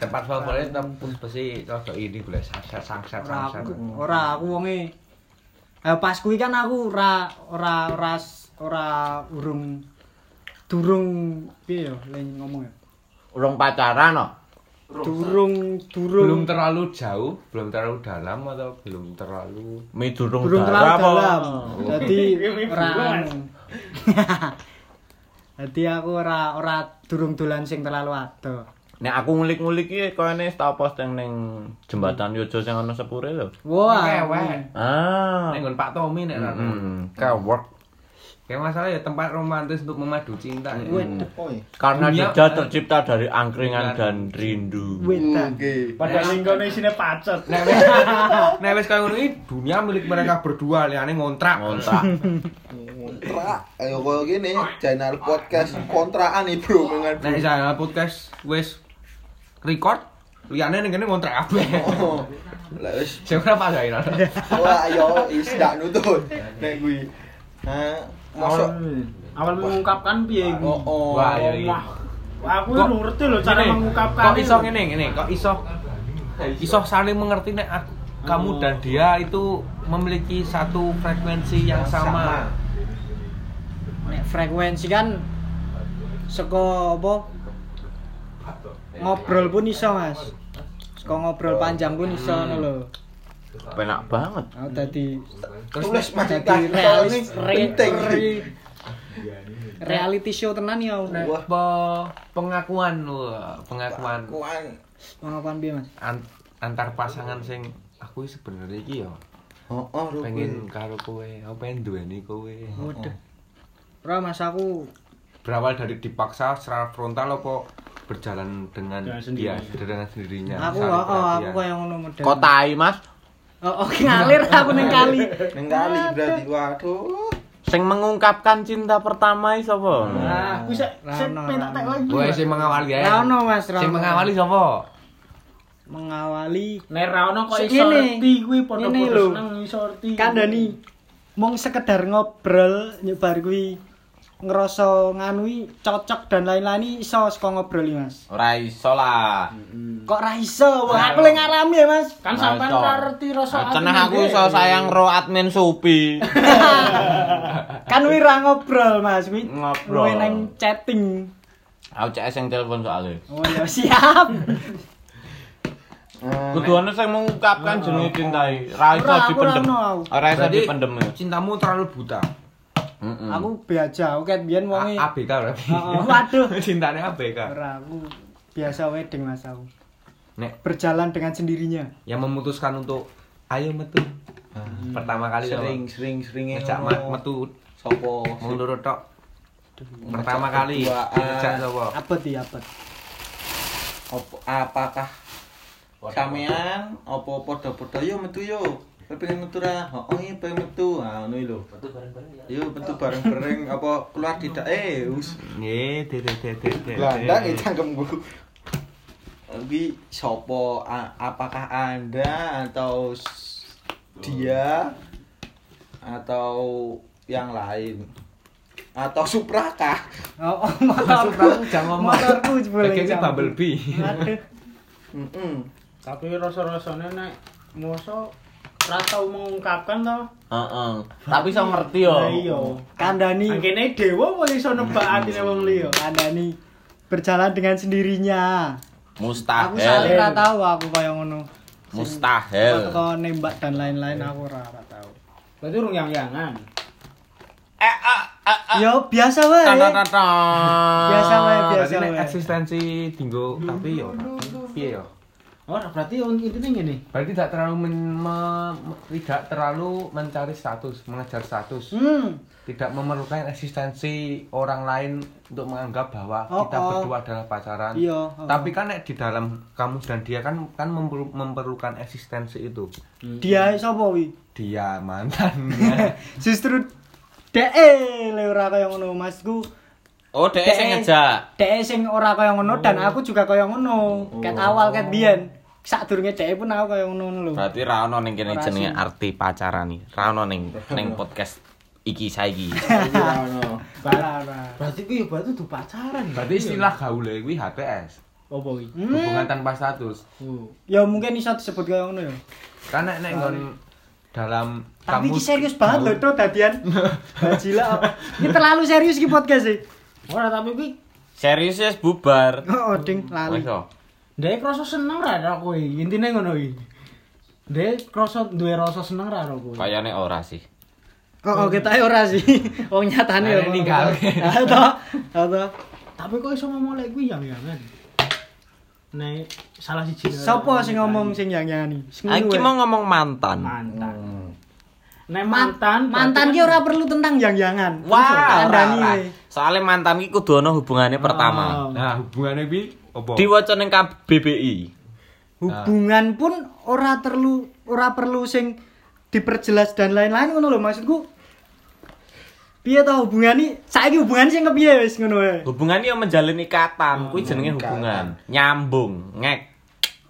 S2: tempat favorit tempat besi cocok ini boleh sangset sangset
S5: Ora
S2: sangset
S5: aku, ora aku wonge. Eh pas kuwi kan aku ora ora ora s- ora urung durung piye ya le ngomong ya.
S4: Urung pacaran oh, no.
S5: Durung
S2: belum
S5: durung
S2: terlalu jauh belum terlalu dalam atau belum terlalu
S4: Mi durung
S5: durung terlalu
S4: darah apa?
S5: dalam. Dadi
S1: Ini
S5: ora
S1: buruan.
S5: anu. Dadi aku ora ora durung dolan sing terlalu adoh.
S4: Nek aku ngulik-ngulik iki koyone tak posting ning jembatan Yojo sing ana sepure lho.
S5: Wah.
S2: kewek
S4: Ah.
S2: nih Pak Tommy nih hmm.
S4: Hmm, kayak work.
S2: kayak masalah ya tempat romantis untuk memadu cinta ya.
S5: Wedah.
S4: Karena
S2: Dunia-
S4: jeda tercipta dari angkringan dan rindu.
S5: Wedah.
S1: Pada lingkungan isine pacet.
S2: Nek wis nek wis kaya ngono iki dunia milik mereka berdua liane ngontrak. [laughs]
S4: Ngontrak.
S3: kontrak ayo koyo gini channel podcast kontrakan nih bro dengan
S2: Nek saya podcast wis record liane ning kene ngontrak kabeh.
S3: [laughs] oh lek wis
S2: Sing ora pak gawe.
S3: ora ayo is dak nutut nek kuwi ha
S1: Awal,
S3: masuk
S1: awal mengungkapkan piye iku?
S3: oh oh
S2: Wah, iya, iya.
S1: Wah, aku
S2: Kok-
S1: lu ngerti lho cara
S2: Gini,
S1: mengungkapkan.
S2: Kok iso ngene ngene, kok iso iso saling mengerti nek aku kamu dan dia itu memiliki satu frekuensi yang sama.
S5: Nek frekuensi kan seko apa? Ngobrol pun iso, Mas. Seko ngobrol panjang pun iso ngono lho.
S4: Penak banget.
S5: Aku dadi
S3: tulis mas
S5: dadi
S3: kita
S5: realis
S3: ini
S5: re-
S3: penting
S5: re- reality show tenan ya.
S2: Nek
S3: Wah.
S2: apa pengakuan wah, pengakuan
S3: kuan
S5: Ngapain piye, Mas?
S2: an- antar pasangan sing aku iki sebenarnya iki ya
S3: oh oh
S2: pengen karo kowe, aku pengen duweni kowe.
S5: Waduh. Ora Mas aku
S2: Berawal dari dipaksa secara frontal apa berjalan dengan
S1: Dengan
S2: dia
S1: sendirinya.
S2: dengan sendirinya.
S5: aku
S2: saling
S5: oh, oh, aku
S2: perhatian.
S5: koyo ngono model.
S4: Kotai, Mas.
S5: [laughs]
S2: [laughs]
S5: Oh, oh, ngalir aku ning kali.
S3: neng kali berarti waduh
S4: Sing mengungkapkan cinta pertama iki sapa?
S1: Nah, aku sik
S5: Lah,
S1: sik
S5: no,
S1: pentak tak
S5: no.
S1: lagi.
S2: Kowe sing mengawali ae.
S5: Ra ono, Mas, ra
S2: Sing
S5: ono.
S2: mengawali sapa?
S5: mengawali
S1: Nek ra ono kok iso
S5: Segini.
S1: reti kuwi padha
S5: Ini
S1: padha
S5: lho.
S1: seneng iso reti.
S5: kandani mong sekedar ngobrol nyebar kuwi ngerasa nganui cocok dan lain-lain ini iso saka ngobrol iki, Mas.
S4: Ora iso lah.
S2: Hmm.
S5: Kok ra iso? Wah, aku lagi ngalami ya, Mas.
S1: Kan sampean
S4: Iso.
S1: ora reti rasa
S4: Ah,
S1: ati
S4: Cenah
S1: nek
S4: aku
S1: dhewe.
S4: iso sayang ro admin Supi.
S5: kan kuwi ra ngobrol, Mas. Kuwi
S4: Ngobrol.
S5: luwih nang chatting.
S4: Aku CS sing telepon soalnya.
S5: Oh, ya siap.
S4: Kudu ono sing mengungkapkan jenenge cinta iki. Ra iso
S5: Ora, aku
S4: dipendem.
S5: ora ono.
S4: Ora iso
S2: Berarti
S4: dipendem.
S2: Cintamu terlalu buta. Hmm.
S4: Heeh.
S5: aku biasa, oke biyen wonge.
S2: A- ABK berarti.
S5: Heeh, Oh, Waduh.
S2: [laughs] Cintane ABK.
S5: Ora aku biasa wedding Mas aku.
S2: Nek
S5: Berjalan dengan sendirinya.
S2: yang memutuskan untuk ayo metu. Ah, Pertama kali
S3: sering
S2: sering
S3: sering seringe
S2: ngejak
S3: ngono.
S2: ma- metu
S3: Sopo?
S2: menurut tok. Pertama kali
S3: keduaan.
S2: ngejak sapa?
S5: Abot ya abot.
S3: Op- apakah sampean apa padha-padha yo metu yo Kowe pengen metu ra oh oh, iya pengen metu ah ngono iki lho metu bareng-bareng yo metu bareng-bareng apa keluar [laughs] tidak eh us
S2: Nggih, de de de de. de.
S3: gelandang iki cangkemku iki sapa A- apakah anda atau s- dia atau yang lain atau suprakah
S5: Oh, oh, motorku.
S2: jangan ngomong.
S5: Motorku jebule.
S2: Kayak kayak Bumblebee.
S5: Aduh.
S3: heeh
S1: Tapi rasa-rasane nek moso ra tau mengungkapkan to.
S4: Heeh. Tapi iso ngerti yo.
S1: Lah iya.
S2: Oh.
S5: Kandani,
S1: Angkene dewa kok iso nebak
S5: Hmm.
S1: atine wong liya.
S5: kandani berjalan dengan sendirinya.
S2: Ah,
S5: Aku
S4: Mustahil.
S5: salah ora tahu aku kaya ngono.
S4: Mustahil.
S5: Kok nembak dan lain-lain aku ora ora tahu.
S1: Berarti urung yang-yangan.
S4: Eh eh eh.
S2: Ah,
S5: Yo biasa wae.
S4: Tata tata.
S5: Biasa wae, biasa
S2: Berarti nek
S5: wae.
S2: eksistensi dinggo tapi yo. Piye yo?
S1: Ora Oh, berarti un- intine
S5: [laughs]
S1: ngene.
S2: Berarti tidak terlalu men- me- me- tidak terlalu mencari status, mengejar status.
S5: Hmm.
S2: Tidak memerlukan eksistensi orang lain untuk menganggap bahwa
S5: Oh,
S2: kita
S5: oh.
S2: berdua adalah pacaran.
S5: Iya, oh.
S2: Tapi kan nek di dalam kamu dan dia kan kan memperlu- memerlukan eksistensi itu.
S5: Dia sapa wi?
S2: Dia
S5: [laughs]
S2: mantannya.
S5: Justru dee le ora kaya ngono Masku.
S4: Oh, dhek sing ngejak. Oh.
S5: Dee sing ora kaya ngono dan aku juga kaya ngono. Ket awal ket biyen. Sak durunge dee pun aku kaya ngono lho.
S4: Berarti ra ono ning kene
S5: Ora
S4: jenenge
S5: sih.
S4: arti pacaran iki. Ra ono ning ning podcast iki
S5: [laughs]
S4: saiki.
S5: Ora ora.
S1: Berarti kuwi ya berarti tuh pacaran.
S2: Berarti istilah gaule kuwi HTS,
S1: opo kuwi?
S5: Iya. Hmm.
S2: hubungan tanpa status.
S1: Oh.
S5: Ya mungkin iso disebut kaya ngono ya.
S2: Kan nek nek nggon dalam
S5: Tapi
S2: kamu
S5: ini serius banget lho tuh
S4: [laughs]
S5: dadian. Bajila. Ini terlalu serius iki podcast e.
S1: Hmm? Ora tapi kuwi
S4: Serius wis bubar.
S5: Oh, ding lali.
S4: Wes yo.
S1: Dek krasa seneng ra karo kowe. Intine ngono iki. Dek krasa duwe rasa seneng ra karo kowe.
S4: Kayane ora sih.
S5: Oh, oh kita
S4: [laughs]
S5: ora sih. Wong nyatane ya.
S2: Nah, ini ninggal.
S5: Ah, toh. Ah, toh.
S1: Tapi kok iso ngomong lek kuwi yang-yangan. Nek salah siji. dari-
S5: Sopo sing ngomong sing yang-yang
S4: Iki mau ngomong mantan.
S1: mantan. Nek mantan
S5: Hmm. mantan ki
S1: berarti
S5: ora perlu tentang yang-yangan.
S4: Wah, ora,
S5: kandani
S4: ora.
S5: we.
S4: Soale mantan iki kudu ono hubungane
S1: Oh.
S4: pertama.
S2: Nah, hubungannya bi opo?
S4: Diwaca ning KBBI.
S5: Hubungan pun ora perlu ora perlu sing diperjelas dan lain-lain ngono lho maksudku. Piye ta hubungan iki? Saiki hubungan sing kepiye wis ngono wae.
S4: Hubungan iki yang menjalin
S3: Oh,
S4: ikatan, kuwi jenenge hubungan. Nyambung, ngek.
S2: Nah.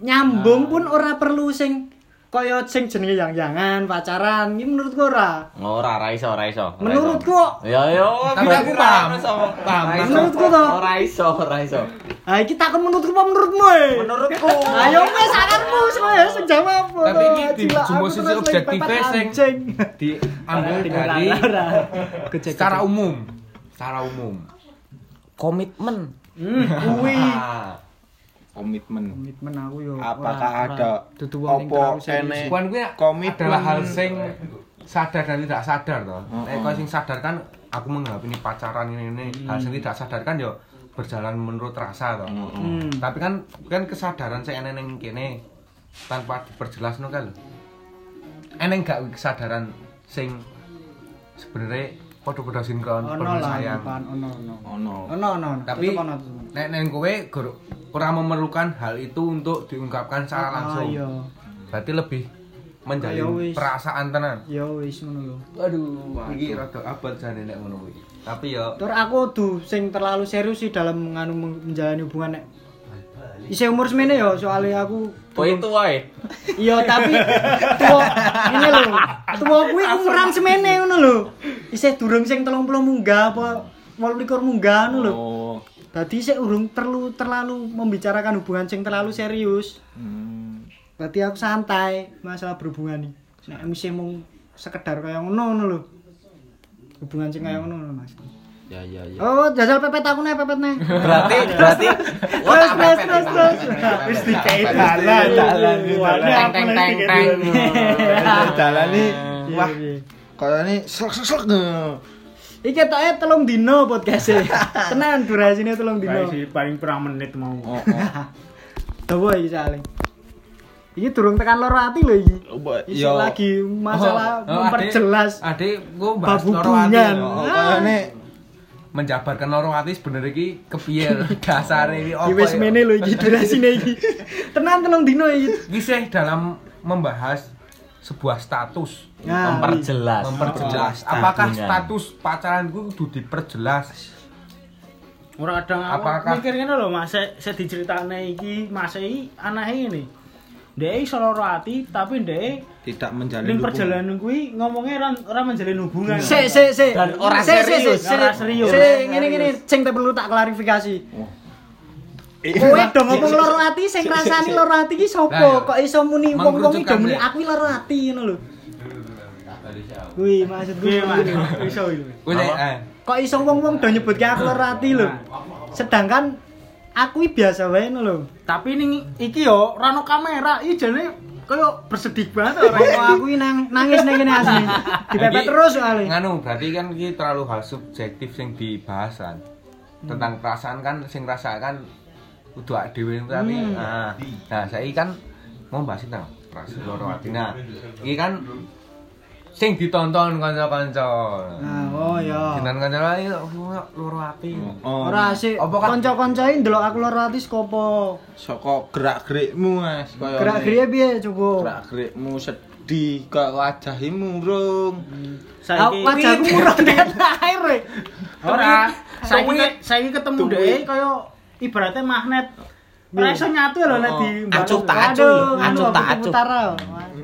S5: nyambung pun ora perlu sing kaya sing jenenge yang-yangan pacaran ini menurutku ora
S4: Ora, ora iso, ora iso. ora iso.
S5: menurutku
S4: Ya ya,
S2: Tapi aku paham. Paham.
S5: menurutku toh
S4: Ora iso, ora iso.
S5: ah iki takon menurutku apa menurutmu eh? [laughs]
S4: Menurutku.
S5: ayo wes sakarmu semua ya sing jawab
S2: Tapi
S5: Toh,
S2: ini di-
S5: Cila, aku
S2: jumbo
S5: terus
S2: sisi
S5: lagi
S2: objektifnya
S5: pepet
S2: sing-
S5: anjing.
S2: diambil
S5: Ora,
S2: dari
S5: [laughs] ora, ora.
S2: secara umum secara umum
S4: Komitmen.
S5: Hmm, kuwi
S2: nah
S3: komitmen
S5: komitmen aku yo
S3: apakah ada
S5: dudu wong
S3: opo ene
S2: bukan gue
S3: Komit
S2: adalah
S3: pun-
S2: hal sing sadar dan tidak sadar toh
S3: Heeh.
S2: nek kau sing sadar kan aku menganggap ini pacaran ini ini hal sing tidak sadar kan yo berjalan menurut rasa toh
S5: Hmm.
S2: tapi kan kan kesadaran saya eneng neng kene tanpa diperjelas no kan lho. eneng gak kesadaran sing sebenarnya podo-podo sinkron
S5: ono
S2: penuh
S5: lah
S2: sayang
S5: bukan, ono ono
S3: ono
S5: ono ono
S2: tapi
S5: Tetep ono, tetep ono.
S2: nek neng kowe gur- ora memerlukan hal itu untuk diungkapkan secara
S5: Ah,
S2: langsung
S5: iya.
S2: berarti lebih menjalin
S5: Ya wis.
S2: perasaan tenan.
S5: Ya wis ngono lho.
S2: Aduh, iki rada abot jane nek ngono kuwi. Tapi ya
S5: Tur aku kudu sing terlalu serius sih dalam nganu men- menjalani hubungan nek Isih umur semene ya soalnya aku
S4: Kowe itu wae.
S5: iya tapi tuwa ngene lho. Tuwa kuwi umuran semene ngono lho. Isih durung sing 30 munggah apa 28 munggah ngono lho.
S3: Oh.
S5: Tadi saya urung perlu terlalu membicarakan hubungan sing terlalu serius.
S4: Hmm.
S5: Berarti aku santai masalah berhubungan nih. Nek mesti mau sekedar kayak ngono ngono lho. Hubungan sing kayak ngono lho, Mas.
S4: Ya ya ya.
S5: Oh, jajal pepet aku nih, pepet nih.
S4: [laughs] Berarti berarti
S5: Terus, terus, terus, terus. Wis dikei dalan, dalan,
S4: teng teng teng teng.
S3: Dalan iki wah
S5: Wah,
S3: kayane slek-slek. Oh,
S5: iki toke telung dino podcast Tenan durasine telung dino.
S1: Baik sih, paling kurang menit mau.
S3: Oh.
S5: Dawa iki saling. Iki durung tekan loro ati lho iki. Isi
S3: Yo.
S5: lagi masalah
S2: Oh, oh,
S5: memperjelas
S2: Adik, adik gua bahas
S5: babu
S2: loro ati.
S5: bunyan.
S2: lho.
S3: Oh, kayane
S2: Menjabarkan loro ati sebenarnya iki kepiye lho,
S5: [laughs]
S2: dasare iki
S5: Iki
S2: opo.
S5: wis mene lho iki durasine iki. Tenan telung dino iki.
S2: Gisih dalam membahas sebuah status Oh,
S5: Nah,
S4: Memperjelas.
S2: memperjelas apakah
S4: Status.
S2: status pacaran gue kudu diperjelas
S1: Ora ada
S2: Apakah-
S1: apa mikir ngene lho Mas, saya se diceritakne iki Mas iki anake ini. Dhek iso lara ati tapi dhek
S3: tidak menjalin
S1: ning
S3: hubungan.
S1: perjalanan kuwi ngomongnya ora ora menjalin hubungan.
S5: Sik sik sik.
S4: Dan ora
S5: Sik, sik,
S4: serius.
S5: sik, sik.
S1: Ora serius.
S5: Sik ngene ngene sing tak perlu tak klarifikasi.
S1: Eh,
S5: Kowe do ngomong loro ati sing rasani loro ati iki
S2: Nah,
S5: sapa?
S2: ya.
S5: Kok iso muni wong-wong iki
S2: Mengkerucutkan,
S5: do muni
S2: Bre.
S5: aku iki loro ati ngono lho. Kuwi maksud
S1: Kuwi
S5: kuwi
S1: Mas, iso iki.
S2: gue eh,
S5: Kok iso wong-wong do nyebutke aku loro ati lho. Sedangkan aku iki biasa wae ngono lho.
S1: Tapi ning iki yo ora ono kamera, iki jane koyo bersedih banget
S5: Kok
S1: ora.
S5: aku iki nang nangis nang kene asli.
S1: [laughs]
S5: Dipepet
S2: Iki-
S5: terus soalnya.
S2: nganu berarti kan ini terlalu hal subjektif sing dibahasan tentang perasaan kan sing rasakan kudu awake dhewe tapi nah, nah saya kan mau bahas tentang perasaan loro ati nah ini kan sing ditonton kanca-kanca
S5: Nah, oh ya.
S2: Ditonton kanca-kanca "Ayo, loro ati
S3: Oh.
S5: Ora sih.
S2: Apa kan-
S5: Kanca-kancane ndelok aku lara ati skopo.
S3: Saka gerak-gerikmu, Mas. Kaya
S5: Gerak-gerike piye coba?
S3: gerak-gerikmu sedih kok wajahmu murung.
S5: Aku
S1: Saiki
S5: wajahku murung nek lahir. we.
S1: ora. Saiki ke- saiki ketemu dhek koyo ibaratnya magnet. Ora iso nyatu lho nek di
S4: Acuh tak acuh.
S5: Aduh, anu
S4: Acuh tak
S5: aku
S4: acuh.
S5: putar.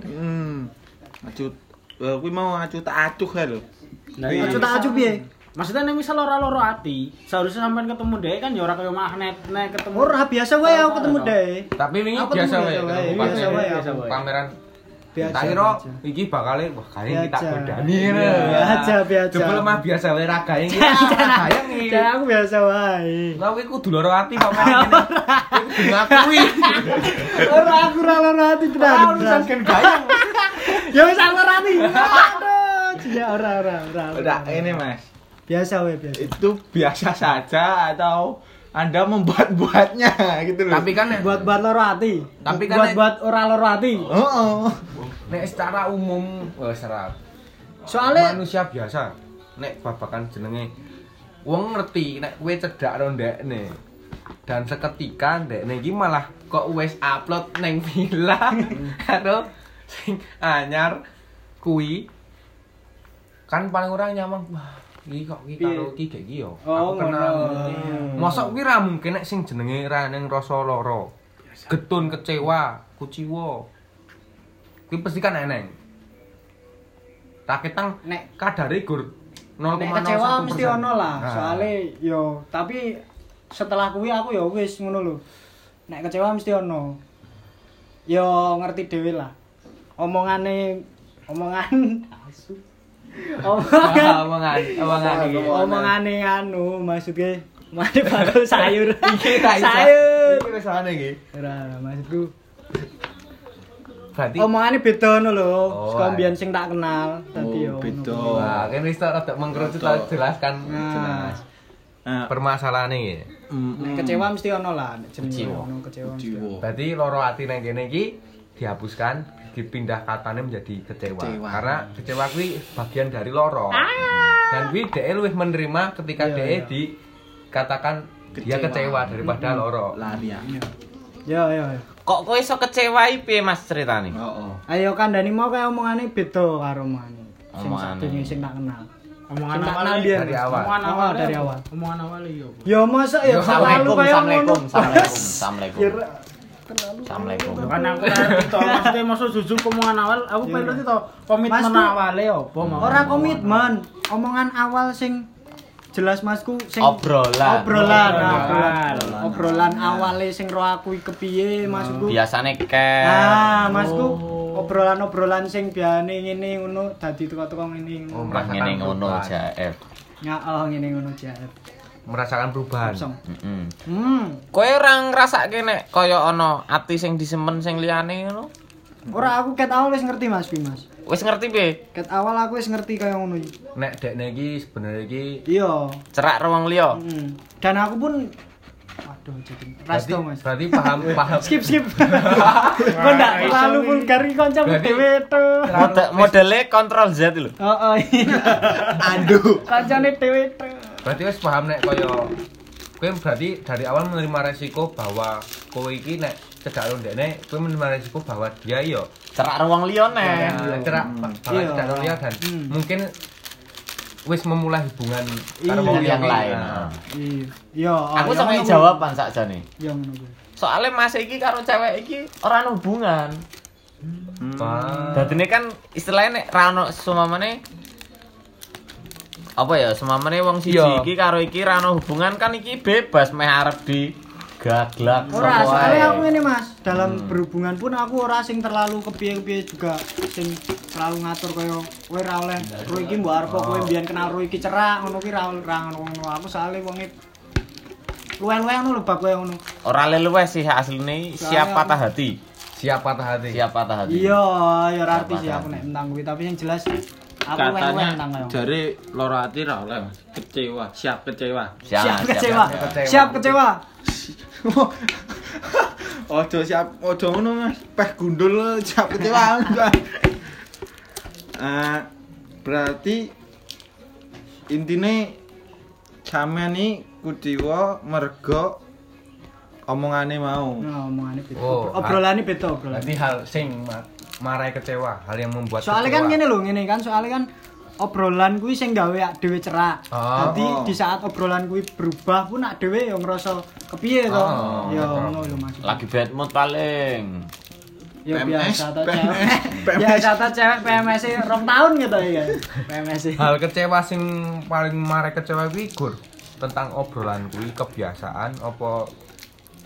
S3: Heeh. Acut. Eh, kuwi mau acut acuh ya lho.
S1: iya.
S5: Acuh tak acuh piye?
S1: Maksudnya nek misal ora loro ati, seharusnya sampean ketemu dhek kan ya ora koyo magnet nek ketemu.
S5: Ora biasa wae aku ketemu dhek.
S2: tapi ini
S5: Aku
S2: biasa
S5: ketemu
S2: wae
S5: biasa wae,
S2: ketemu
S5: biasa
S2: pamer.
S5: wae
S1: biasa wae.
S2: pameran
S5: Biasa,
S2: tak kira
S5: biasa.
S2: iki bakale wah kali kita
S5: Biasa.
S2: godani
S5: Biasa, biasa.
S2: jebul mah biasa wae ragae iki sayang iki
S5: Dhek aku biasa wae.
S2: Lah kowe kudu loro ati
S5: [laughs]
S2: pamane ngene. Kowe kudu ngakui.
S5: Ora aku ora lara ati
S2: Ora
S5: tenan.
S2: urusan kan gayang.
S5: Ya wis aku lara ati. Aduh, ya ora ora ora. ora.
S3: Ora ini, Mas.
S5: Biasa wae biasa.
S3: Itu biasa saja atau Anda membuat-buatnya gitu loh.
S2: Tapi kan nek-
S5: buat buat loro hati
S2: Tapi kan-
S5: buat buat ora loro hati
S3: Oh, oh.
S2: nek secara umum wah serap.
S5: soalnya
S2: manusia biasa nek babakan jenenge wong ngerti nek kowe cedak karo ndekne. Dan seketika ndekne iki malah kok wis upload neng villa [laughs] karo sing anyar kuwi kan paling ora nyamang wah iki kok iki karo iki gek iki yo.
S5: Oh,
S2: Aku kenal.
S5: ngono.
S2: ngene. Hmm. Mosok kuwi ra mungkin nek sing jenenge ra ning rasa lara. Getun kecewa, kuciwa. Kuwi pasti kan eneng. Tak ketang
S5: Nek-
S2: kadare gur 0,01%.
S5: nek kecewa mesti ono lah
S2: Nah,
S5: soalnya yo tapi setelah kuwi aku yo wis ngono lho nek kecewa mesti ono yo ngerti dhewe lah omongane
S2: [laughs]
S5: omongan
S2: ah,
S5: omongan
S2: omongan,
S3: Nah,
S2: omongan iki.
S5: omongane anu maksudnya omongane bakul sayur
S2: [laughs] Iki ra iso.
S5: [laughs] sayur
S2: Iki wis ana iki.
S5: ora maksudku
S2: Berarti
S5: omongane beda ngono lho
S2: Oh, ayo.
S5: saka mbiyen sing tak kenal tadi
S3: Oh,
S5: yo ngono.
S3: beda.
S2: Wah, kan wis tak rada mengkerucut tak jelaskan jelas.
S3: Nah,
S2: Permasalahan iki.
S5: Nek kecewa mesti ono lah, nek jenenge
S2: Kecewa.
S5: ono kecewa. mesti ono.
S3: jiwa.
S2: Berarti loro hati nang kene iki dihapuskan, dipindah katanya menjadi kecewa.
S3: Kecewa.
S2: Karena kecewa kuwi bagian dari loro. Dan kuwi dhek luwih menerima ketika
S5: Ah. Iya,
S2: dhek
S5: iya.
S2: dikatakan dia
S3: Kecewa.
S2: kecewa daripada loro.
S3: Lari ya.
S5: Ya ya ya.
S4: Kok kowe iso kecewai piye Mas ceritane?
S3: Heeh.
S5: Ayo kandani mau kayak omongane beda karo omongane. Sing
S4: Omongane.
S5: sadurunge sing tak kenal.
S1: Omongan
S5: Sing tak
S1: awal
S5: kenal
S1: ya.
S5: dia.
S2: Dari awal.
S1: Omongan
S5: Oh,
S1: awal
S5: dari
S1: ya.
S5: awal.
S1: Omongan awal ya. apa?
S5: Ya masa ya selalu
S4: Assalamualaikum,
S5: kayak ngono.
S4: Assalamualaikum, Assalamualaikum, Assalamualaikum.
S5: Ya,
S4: Assalamualaikum.
S1: Kan aku ngerti
S5: [laughs]
S1: to, maksudnya maksud jujur omongan awal, aku pengen ngerti to
S5: Mas, Oh,
S1: komitmen
S5: tuh-
S1: awale opo mau.
S5: Ora komitmen, omongan awal sing jelas Masku sing
S4: Obrolan.
S5: obrolan,
S1: Obrolan.
S5: obrolan, obrolan awale sing ro aku iki kepiye
S4: Hmm,
S5: Masku.
S4: Biasane care.
S5: Ah, Masku
S4: Oh.
S5: obrolan-obrolan sing biane ngene ngono dadi teko-teko ngene.
S2: Oh,
S4: Mah
S2: merasakan
S4: ngene ngono eh.
S2: perubahan.
S4: jaef.
S5: Ya oh ngene ngono jaep.
S2: Merasakan perubahan.
S5: Song.
S4: Heeh.
S5: Hmm.
S4: Kowe ora ngrasake nek kaya ana ati sing disemen sing liyane ngono?
S5: Ora aku ket awal wis ngerti Mas Pi, Mas.
S4: Wis ngerti piye?
S5: Ket awal aku wis ngerti kaya ngono iki.
S2: Nek dekne iki sebenarnya iki
S5: Iya.
S4: Cerak ruang liya.
S5: Mm. Dan aku pun waduh jadi
S2: berarti,
S5: rasto Mas.
S2: berarti
S5: [laughs]
S2: paham paham
S5: Skip skip. Kok ndak terlalu vulgar iki kancamu
S2: Berarti-
S5: dhewe Oh, to.
S4: Mode modele kontrol Z lho.
S5: Heeh. Aduh. Kancane dhewe to.
S2: berarti wis paham nek kaya kowe berarti dari awal menerima resiko bahwa kowe iki nek cedak lo ndekne kowe menerima resiko bahwa dia iya yo
S4: Cerak ruang liya nek.
S2: Nah, cerak
S3: Hmm.
S2: bahwa
S5: Iya.
S2: cedak lo liya dan
S5: Hmm.
S2: mungkin wis memulai hubungan karo
S5: Iya.
S2: wong
S4: Dengan yang
S2: liya. Ah.
S4: lain.
S2: Nah.
S5: Iya. Yo.
S4: Aku sampe jawaban sakjane.
S5: Yo ngono kuwi.
S4: Oh, Soale Mas iki karo cewek iki ora ana hubungan.
S3: Hmm.
S2: Wah.
S4: Dadine kan istilahnya nek rano sumamane apa ya sumamane wong siji
S2: Iya.
S4: iki karo iki rano hubungan kan iki bebas meh arep di gaglak sapa
S5: Ora, soalnya aku
S4: wae.
S5: ini mas, dalam berhubungan pun aku ora sing terlalu kepiye-kepiye juga sing terlalu ngatur kaya kowe ra oleh ro iki mbok arep kowe mbiyen kenal ro iki cerak ngono ki ra ra ngono aku soalnya wonge luwe-luwe ngono lho bab kaya ngono.
S4: Ora leluwe sih asline siap
S5: Soalnya
S4: patah
S5: aku-
S4: hati.
S2: siap patah hati
S4: Siap patah hati.
S5: Iya, ya ora arti
S4: Apa
S5: sih aku nek tentang kuwi, tapi yang jelas aku luwe-luwe
S3: Katanya
S5: tentang kaya. ngono.
S3: dari loro ati ra oleh Mas. kecewa, siap kecewa.
S4: Siap,
S5: Siap
S4: siap,
S5: kecewa.
S4: siap.
S5: Siap kecewa.
S3: Ojo siap, ojo ngono Mas. Peh gundul siap
S2: [laughs]
S3: kecewa. Eh berarti intine sampean iki kudiwa mergo omongane mau.
S5: Nah, omongane beda.
S2: Oh, ah.
S5: Obrolane beda, obrolane.
S2: berarti hal sing ma- marai kecewa hal yang membuat
S5: Soalnya kan
S2: kecewa.
S5: ngene lho, ngene kan soalnya kan obrolan kuwi sing gawe ak dhewe cerak.
S2: Ah.
S5: Dadi di saat obrolan kuwi berubah pun ak dhewe ya ngerasa kepiye to.
S2: Ah,
S5: ya
S2: betul.
S5: ngono lho Mas.
S4: Lagi bad mood paling.
S5: Ya
S3: PMS,
S5: biasa ta cewek.
S2: [laughs]
S3: PMS.
S5: Biasa ta cewek PMS -e rong tahun gitu ya. PMS. -e.
S2: hal kecewa sing paling marai kecewa kuwi Gur, tentang obrolan kuwi kebiasaan apa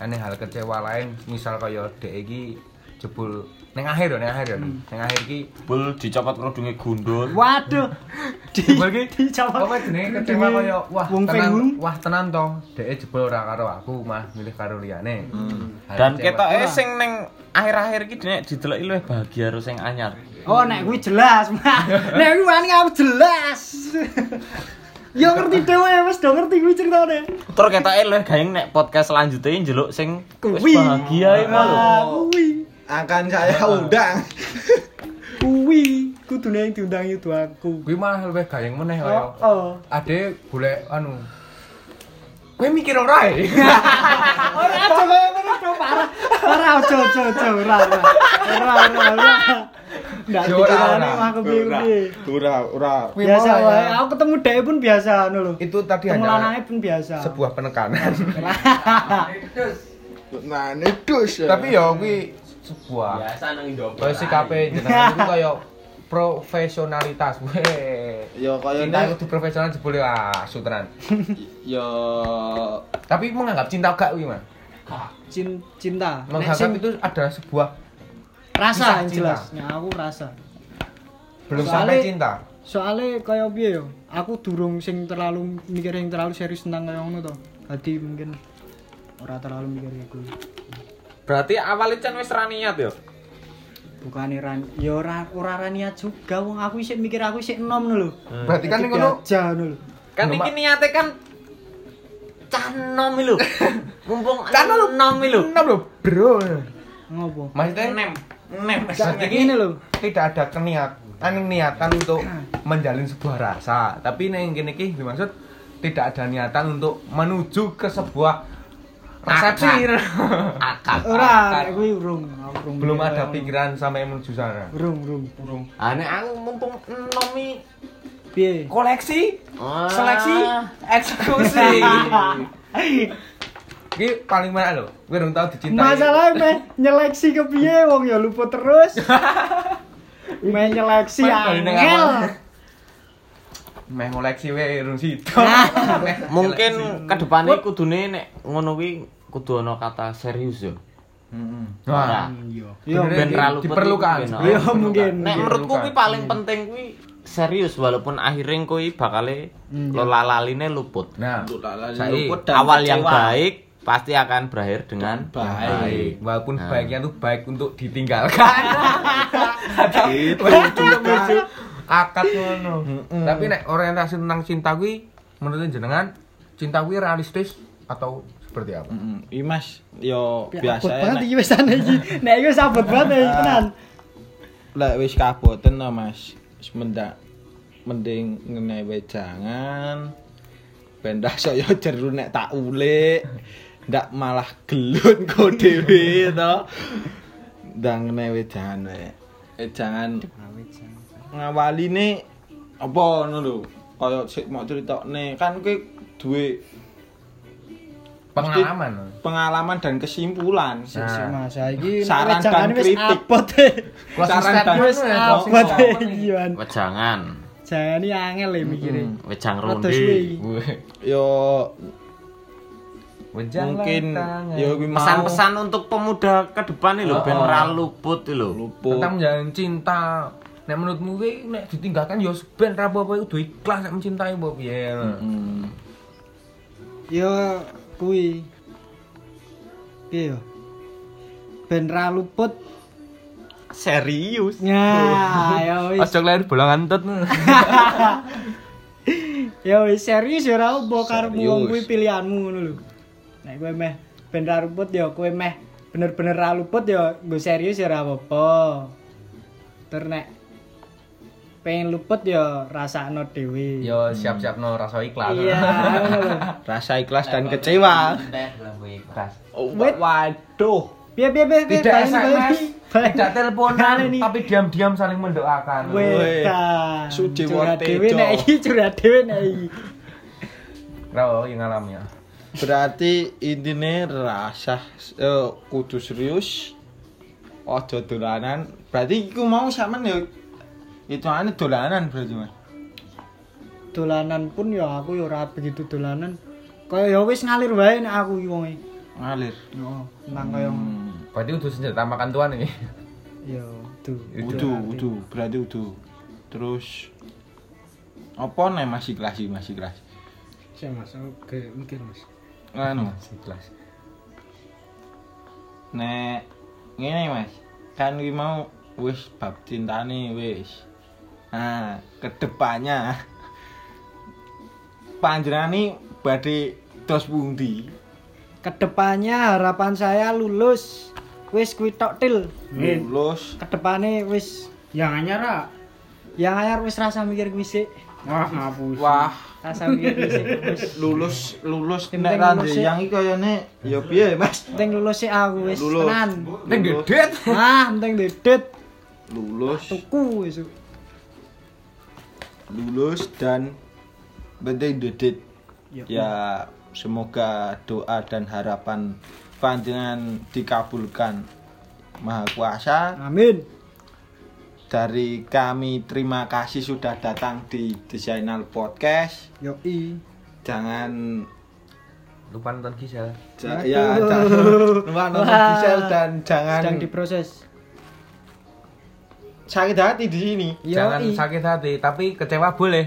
S2: ene hal kecewa lain misal kaya dek iki jebul ning akhir ya ning akhir ya
S5: Hmm.
S2: ning akhir iki
S4: Bul dicopot kerudunge gundul.
S5: Waduh. Di
S2: jebul iki
S5: dicopot
S2: apa jenenge kecewa kaya wah
S5: Wong
S2: tenan
S5: Fengung.
S2: wah tenan to dek jebul ora karo aku mah milih karo liyane
S5: Hmm.
S2: Hal
S4: Dan
S2: kecewa.
S4: ketoke sing ning akhir-akhir iki nek dideloki luwih bahagia karo sing anyar.
S5: Oh, nek kuwi jelas, Mak. Nek kuwi wani aku jelas. Ya ngerti dhewe wis do ngerti kuwi ceritane.
S4: Terus ketoke luwih gaeng nek podcast selanjutnya njeluk sing wis
S5: Kuwi.
S4: bahagia iku lho.
S5: Ah, kuwi.
S3: Akan saya undang.
S5: kuwi kudune yang diundang itu aku
S2: kuwi malah luwih gayeng meneh kaya
S5: oh, oh.
S2: ade golek anu kowe mikir ora e
S5: ora aja kaya ngono Cok, parah ora aja aja aja ora ora ora ora ora ndak
S2: Ya, ora,
S5: dikirani
S2: ora.
S5: aku piye
S3: Ora, ora.
S5: [laughs] biasa
S2: mau,
S5: wae
S2: ya.
S5: aku ketemu dhewe pun biasa ngono lho
S2: itu tadi
S5: ketemu lanange
S2: hanya
S5: pun biasa
S2: sebuah penekanan
S3: Nah, ini dus. ya.
S2: tapi ya kuwi sebuah
S7: biasa nang Indomaret.
S2: kaya sikape jenengan iku kaya profesionalitas weh
S3: ya kaya
S2: cinta itu profesional jebule ah sutran
S3: ya
S2: tapi menganggap cinta gak kuwi mah
S5: [laughs] Cin- cinta nek
S2: menganggap
S5: sing
S2: itu adalah sebuah
S5: rasa
S2: Kisah
S5: yang
S2: cinta.
S5: jelas ya aku rasa
S2: belum
S5: Soalnya-
S2: sampai cinta
S5: soalnya kaya piye yo aku durung sing terlalu mikir yang terlalu serius tentang kaya ngono to dadi mungkin ora terlalu mikir kayak kuwi
S4: Berarti awalnya Chan wis ra niat ya?
S5: Bukan ran, ya ora ora ra niat juga wong aku isih mikir aku isih enom lho.
S2: berarti kan
S5: Dadi
S2: ngono
S5: aja ngono lho.
S4: Kan
S2: Lho,
S4: iki
S2: Mak.
S4: niate kan canom lho. [laughs] Mumpung enom lho.
S2: enam lho bro
S5: Ngopo?
S2: maksudnya
S4: Nem. Nem.
S2: berarti iki
S5: Ini lho.
S2: tidak ada keniat anu niatan untuk menjalin sebuah rasa tapi ning kene iki dimaksud tidak ada niatan untuk menuju ke sebuah persepsi
S5: Ora, Ora, kuwi urung, aku urung.
S2: [laughs] belum ada pikiran sampai menuju sana
S5: Urung, urung, urung.
S4: Ane Ah, aku mumpung nomi
S5: Piye?
S2: koleksi
S4: seleksi
S2: eksekusi [laughs] ini paling mana lo gue belum tahu dicintai
S5: [laughs] Masalah meh nyeleksi ke piye wong ya luput
S2: [laughs]
S5: terus. meh nyeleksi
S2: Meh balik nang awal.
S5: angel.
S2: meh koleksi we rung situ Meh
S4: mungkin
S2: koleksi.
S4: kedepannya kudune nek ngono kuwi kudu ana kata serius yo Nah.
S2: Wah,
S5: Yo,
S2: bener
S4: ben
S2: ini
S4: terlalu
S2: Nah, diperlukan
S4: penting,
S5: Yo,
S2: Diperlukan.
S5: mungkin.
S4: nek menurutku kuwi paling penting kuwi serius walaupun akhirnya kuwi bakale lolalaline luput
S2: nah saya
S4: awal yang baik pasti akan berakhir dengan
S2: baik walaupun
S4: Nah.
S2: baiknya tuh baik untuk ditinggalkan Atau untuk menuju akad ngono tapi nek orientasi tentang cinta kuwi menurut jenengan cinta kuwi realistis atau seperti apa
S3: Imas yo biasa
S5: Biasa banget iki wis ana iki. Nek iki wis abot banget iki tenan.
S3: lek wis kaboten to Mas. Wis mendak mending ngenewe jangan bendah saya jeru nek tak ulik ndak malah gelut kok dhewe to. Ndak ngenewe jangan wae. Eh jangan ngawaline apa ngono lho. Kaya sik mau critane kan kowe duwe
S2: pengalaman
S3: pengalaman dan kesimpulan.
S5: Sik
S2: Nah.
S5: Mas, iki
S3: Saran dan
S5: jangan wis
S3: kritik.
S5: abot. eh.
S2: Closing
S3: Saran
S2: statement
S3: dan-
S5: Wis
S2: ya, closing
S5: abot eh,
S2: statement.
S5: iki, Wan.
S4: wejangan
S5: Jangan iki angel le mikire.
S3: Hmm.
S4: wejang
S5: Terus kuwi.
S4: ronde
S3: Yo
S2: Wejalan
S3: mungkin ya,
S2: tangan.
S3: yo kuwi mau
S4: pesan-pesan untuk pemuda ke depan nih lho ben ora luput nih lho
S3: luput.
S2: tentang menjalin cinta nek menurutmu kuwi nek ditinggalkan yo ben ra apa-apa kudu ikhlas nek mencintai Iya. apa piye
S5: Yo kuwi. Piye yo? Ben ra luput.
S4: serius
S5: Ya,
S3: Oh.
S5: ya wis.
S2: Ojo lahir bolongan tut.
S5: Ya wis serius ya ra opo karepmu wong
S3: Serius.
S5: kuwi pilihanmu ngono lho. Nek kowe meh ben ra luput ya kowe meh bener-bener ra luput ya nggo serius ya ra apa-apa. Tur nek pengen luput ya rasakno dhewe.
S2: Yo siap-siap no rasa ikhlas. [laughs]
S5: Iya, ngono lho.
S3: rasa ikhlas dan kecewa. Oh, waduh.
S5: Piye piye piye piye,
S2: Tidak
S5: balik nih, balik
S2: SMS,
S5: nih. Balik.
S2: tidak teleponan,
S5: Balik nih.
S2: tapi diam-diam saling mendoakan.
S3: Weh.
S5: Wedan.
S3: Sudewo
S5: Curhat
S3: Tejo.
S5: dhewe nek iki curhat dhewe nek iki.
S2: Rawo yang ngalami ya.
S3: Berarti intine rasa eh, kudu serius. Ojo dolanan. Berarti iku mau sampean ya itu ane dolanan berarti Mas.
S5: Dolanan pun ya aku ya ora begitu dolanan. Kaya ya wis ngalir wae nek aku iki wonge.
S3: Ngalir.
S5: Heeh,
S3: Hmm.
S5: nang kaya
S2: Berarti udah senjata makan tuan ini. [laughs]
S5: ya tuh
S3: Udu, udu, berarti udu. Terus apa nih masih kelas masih kelas.
S1: Saya mas,
S5: Oh,
S1: oke mikir mas.
S3: Anu,
S2: Ikhlas.
S3: nek ngene Mas. Kan iki mau wis bab cintane wis. Nah, kedepannya [laughs] panjenengani badhe dos pundi?
S5: kedepannya harapan saya lulus wis kuwi tok til
S1: Min,
S3: Lulus.
S5: kedepane wis
S1: yang anyar Ra.
S5: yang anyar wis rasa mikir kuwi sik
S1: Wah, ngapus.
S3: Wah,
S5: rasa mikir kuwi
S3: [laughs]
S5: sik wis
S3: lulus lulus
S5: Penting
S3: nek rande
S5: lulus sih.
S3: yang iki kayane ya piye, Mas?
S5: penting lulus sik aku wis
S3: Lulus.
S5: tenan
S2: Neng gedet.
S5: ah penting dedet
S3: Lulus,
S5: tuku wis
S3: lulus dan penting dedit.
S5: Ya.
S3: Ya, semoga doa dan harapan panjenengan dikabulkan. Maha Kuasa.
S5: amin
S3: dari kami terima kasih sudah datang di Desainal Podcast.
S5: yo i
S3: Jangan
S2: Lupa nonton Gisel.
S3: ja-
S5: Aduh.
S3: ya jangan lupa nonton
S5: Wah.
S3: Gisel dan jangan
S5: sedang diproses
S3: sakit hati di sini.
S5: yo
S2: Jangan
S5: i
S2: sakit hati, tapi kecewa boleh.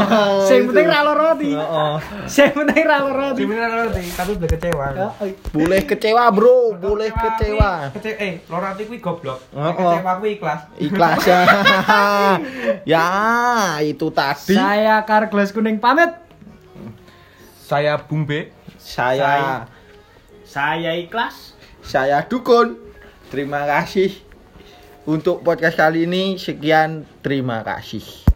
S2: [laughs]
S5: sing penting ra lara ati
S3: Oh,
S5: sing penting ra lara ati
S2: Gimana nanti? Tapi boleh kecewa.
S5: Yo, i.
S3: boleh kecewa, Bro. Boleh kecewa.
S2: Kece eh, lorati kuwi goblok.
S3: Oh, oh.
S2: Kecewa kuwi ikhlas.
S3: Ikhlas [laughs] ya. ya, itu tadi.
S5: saya kar gelas kuning pamit
S2: Saya Bung B.
S3: Saya
S1: Saya ikhlas.
S3: saya Dukun. Terima kasih untuk podcast kali ini. Sekian, terima kasih.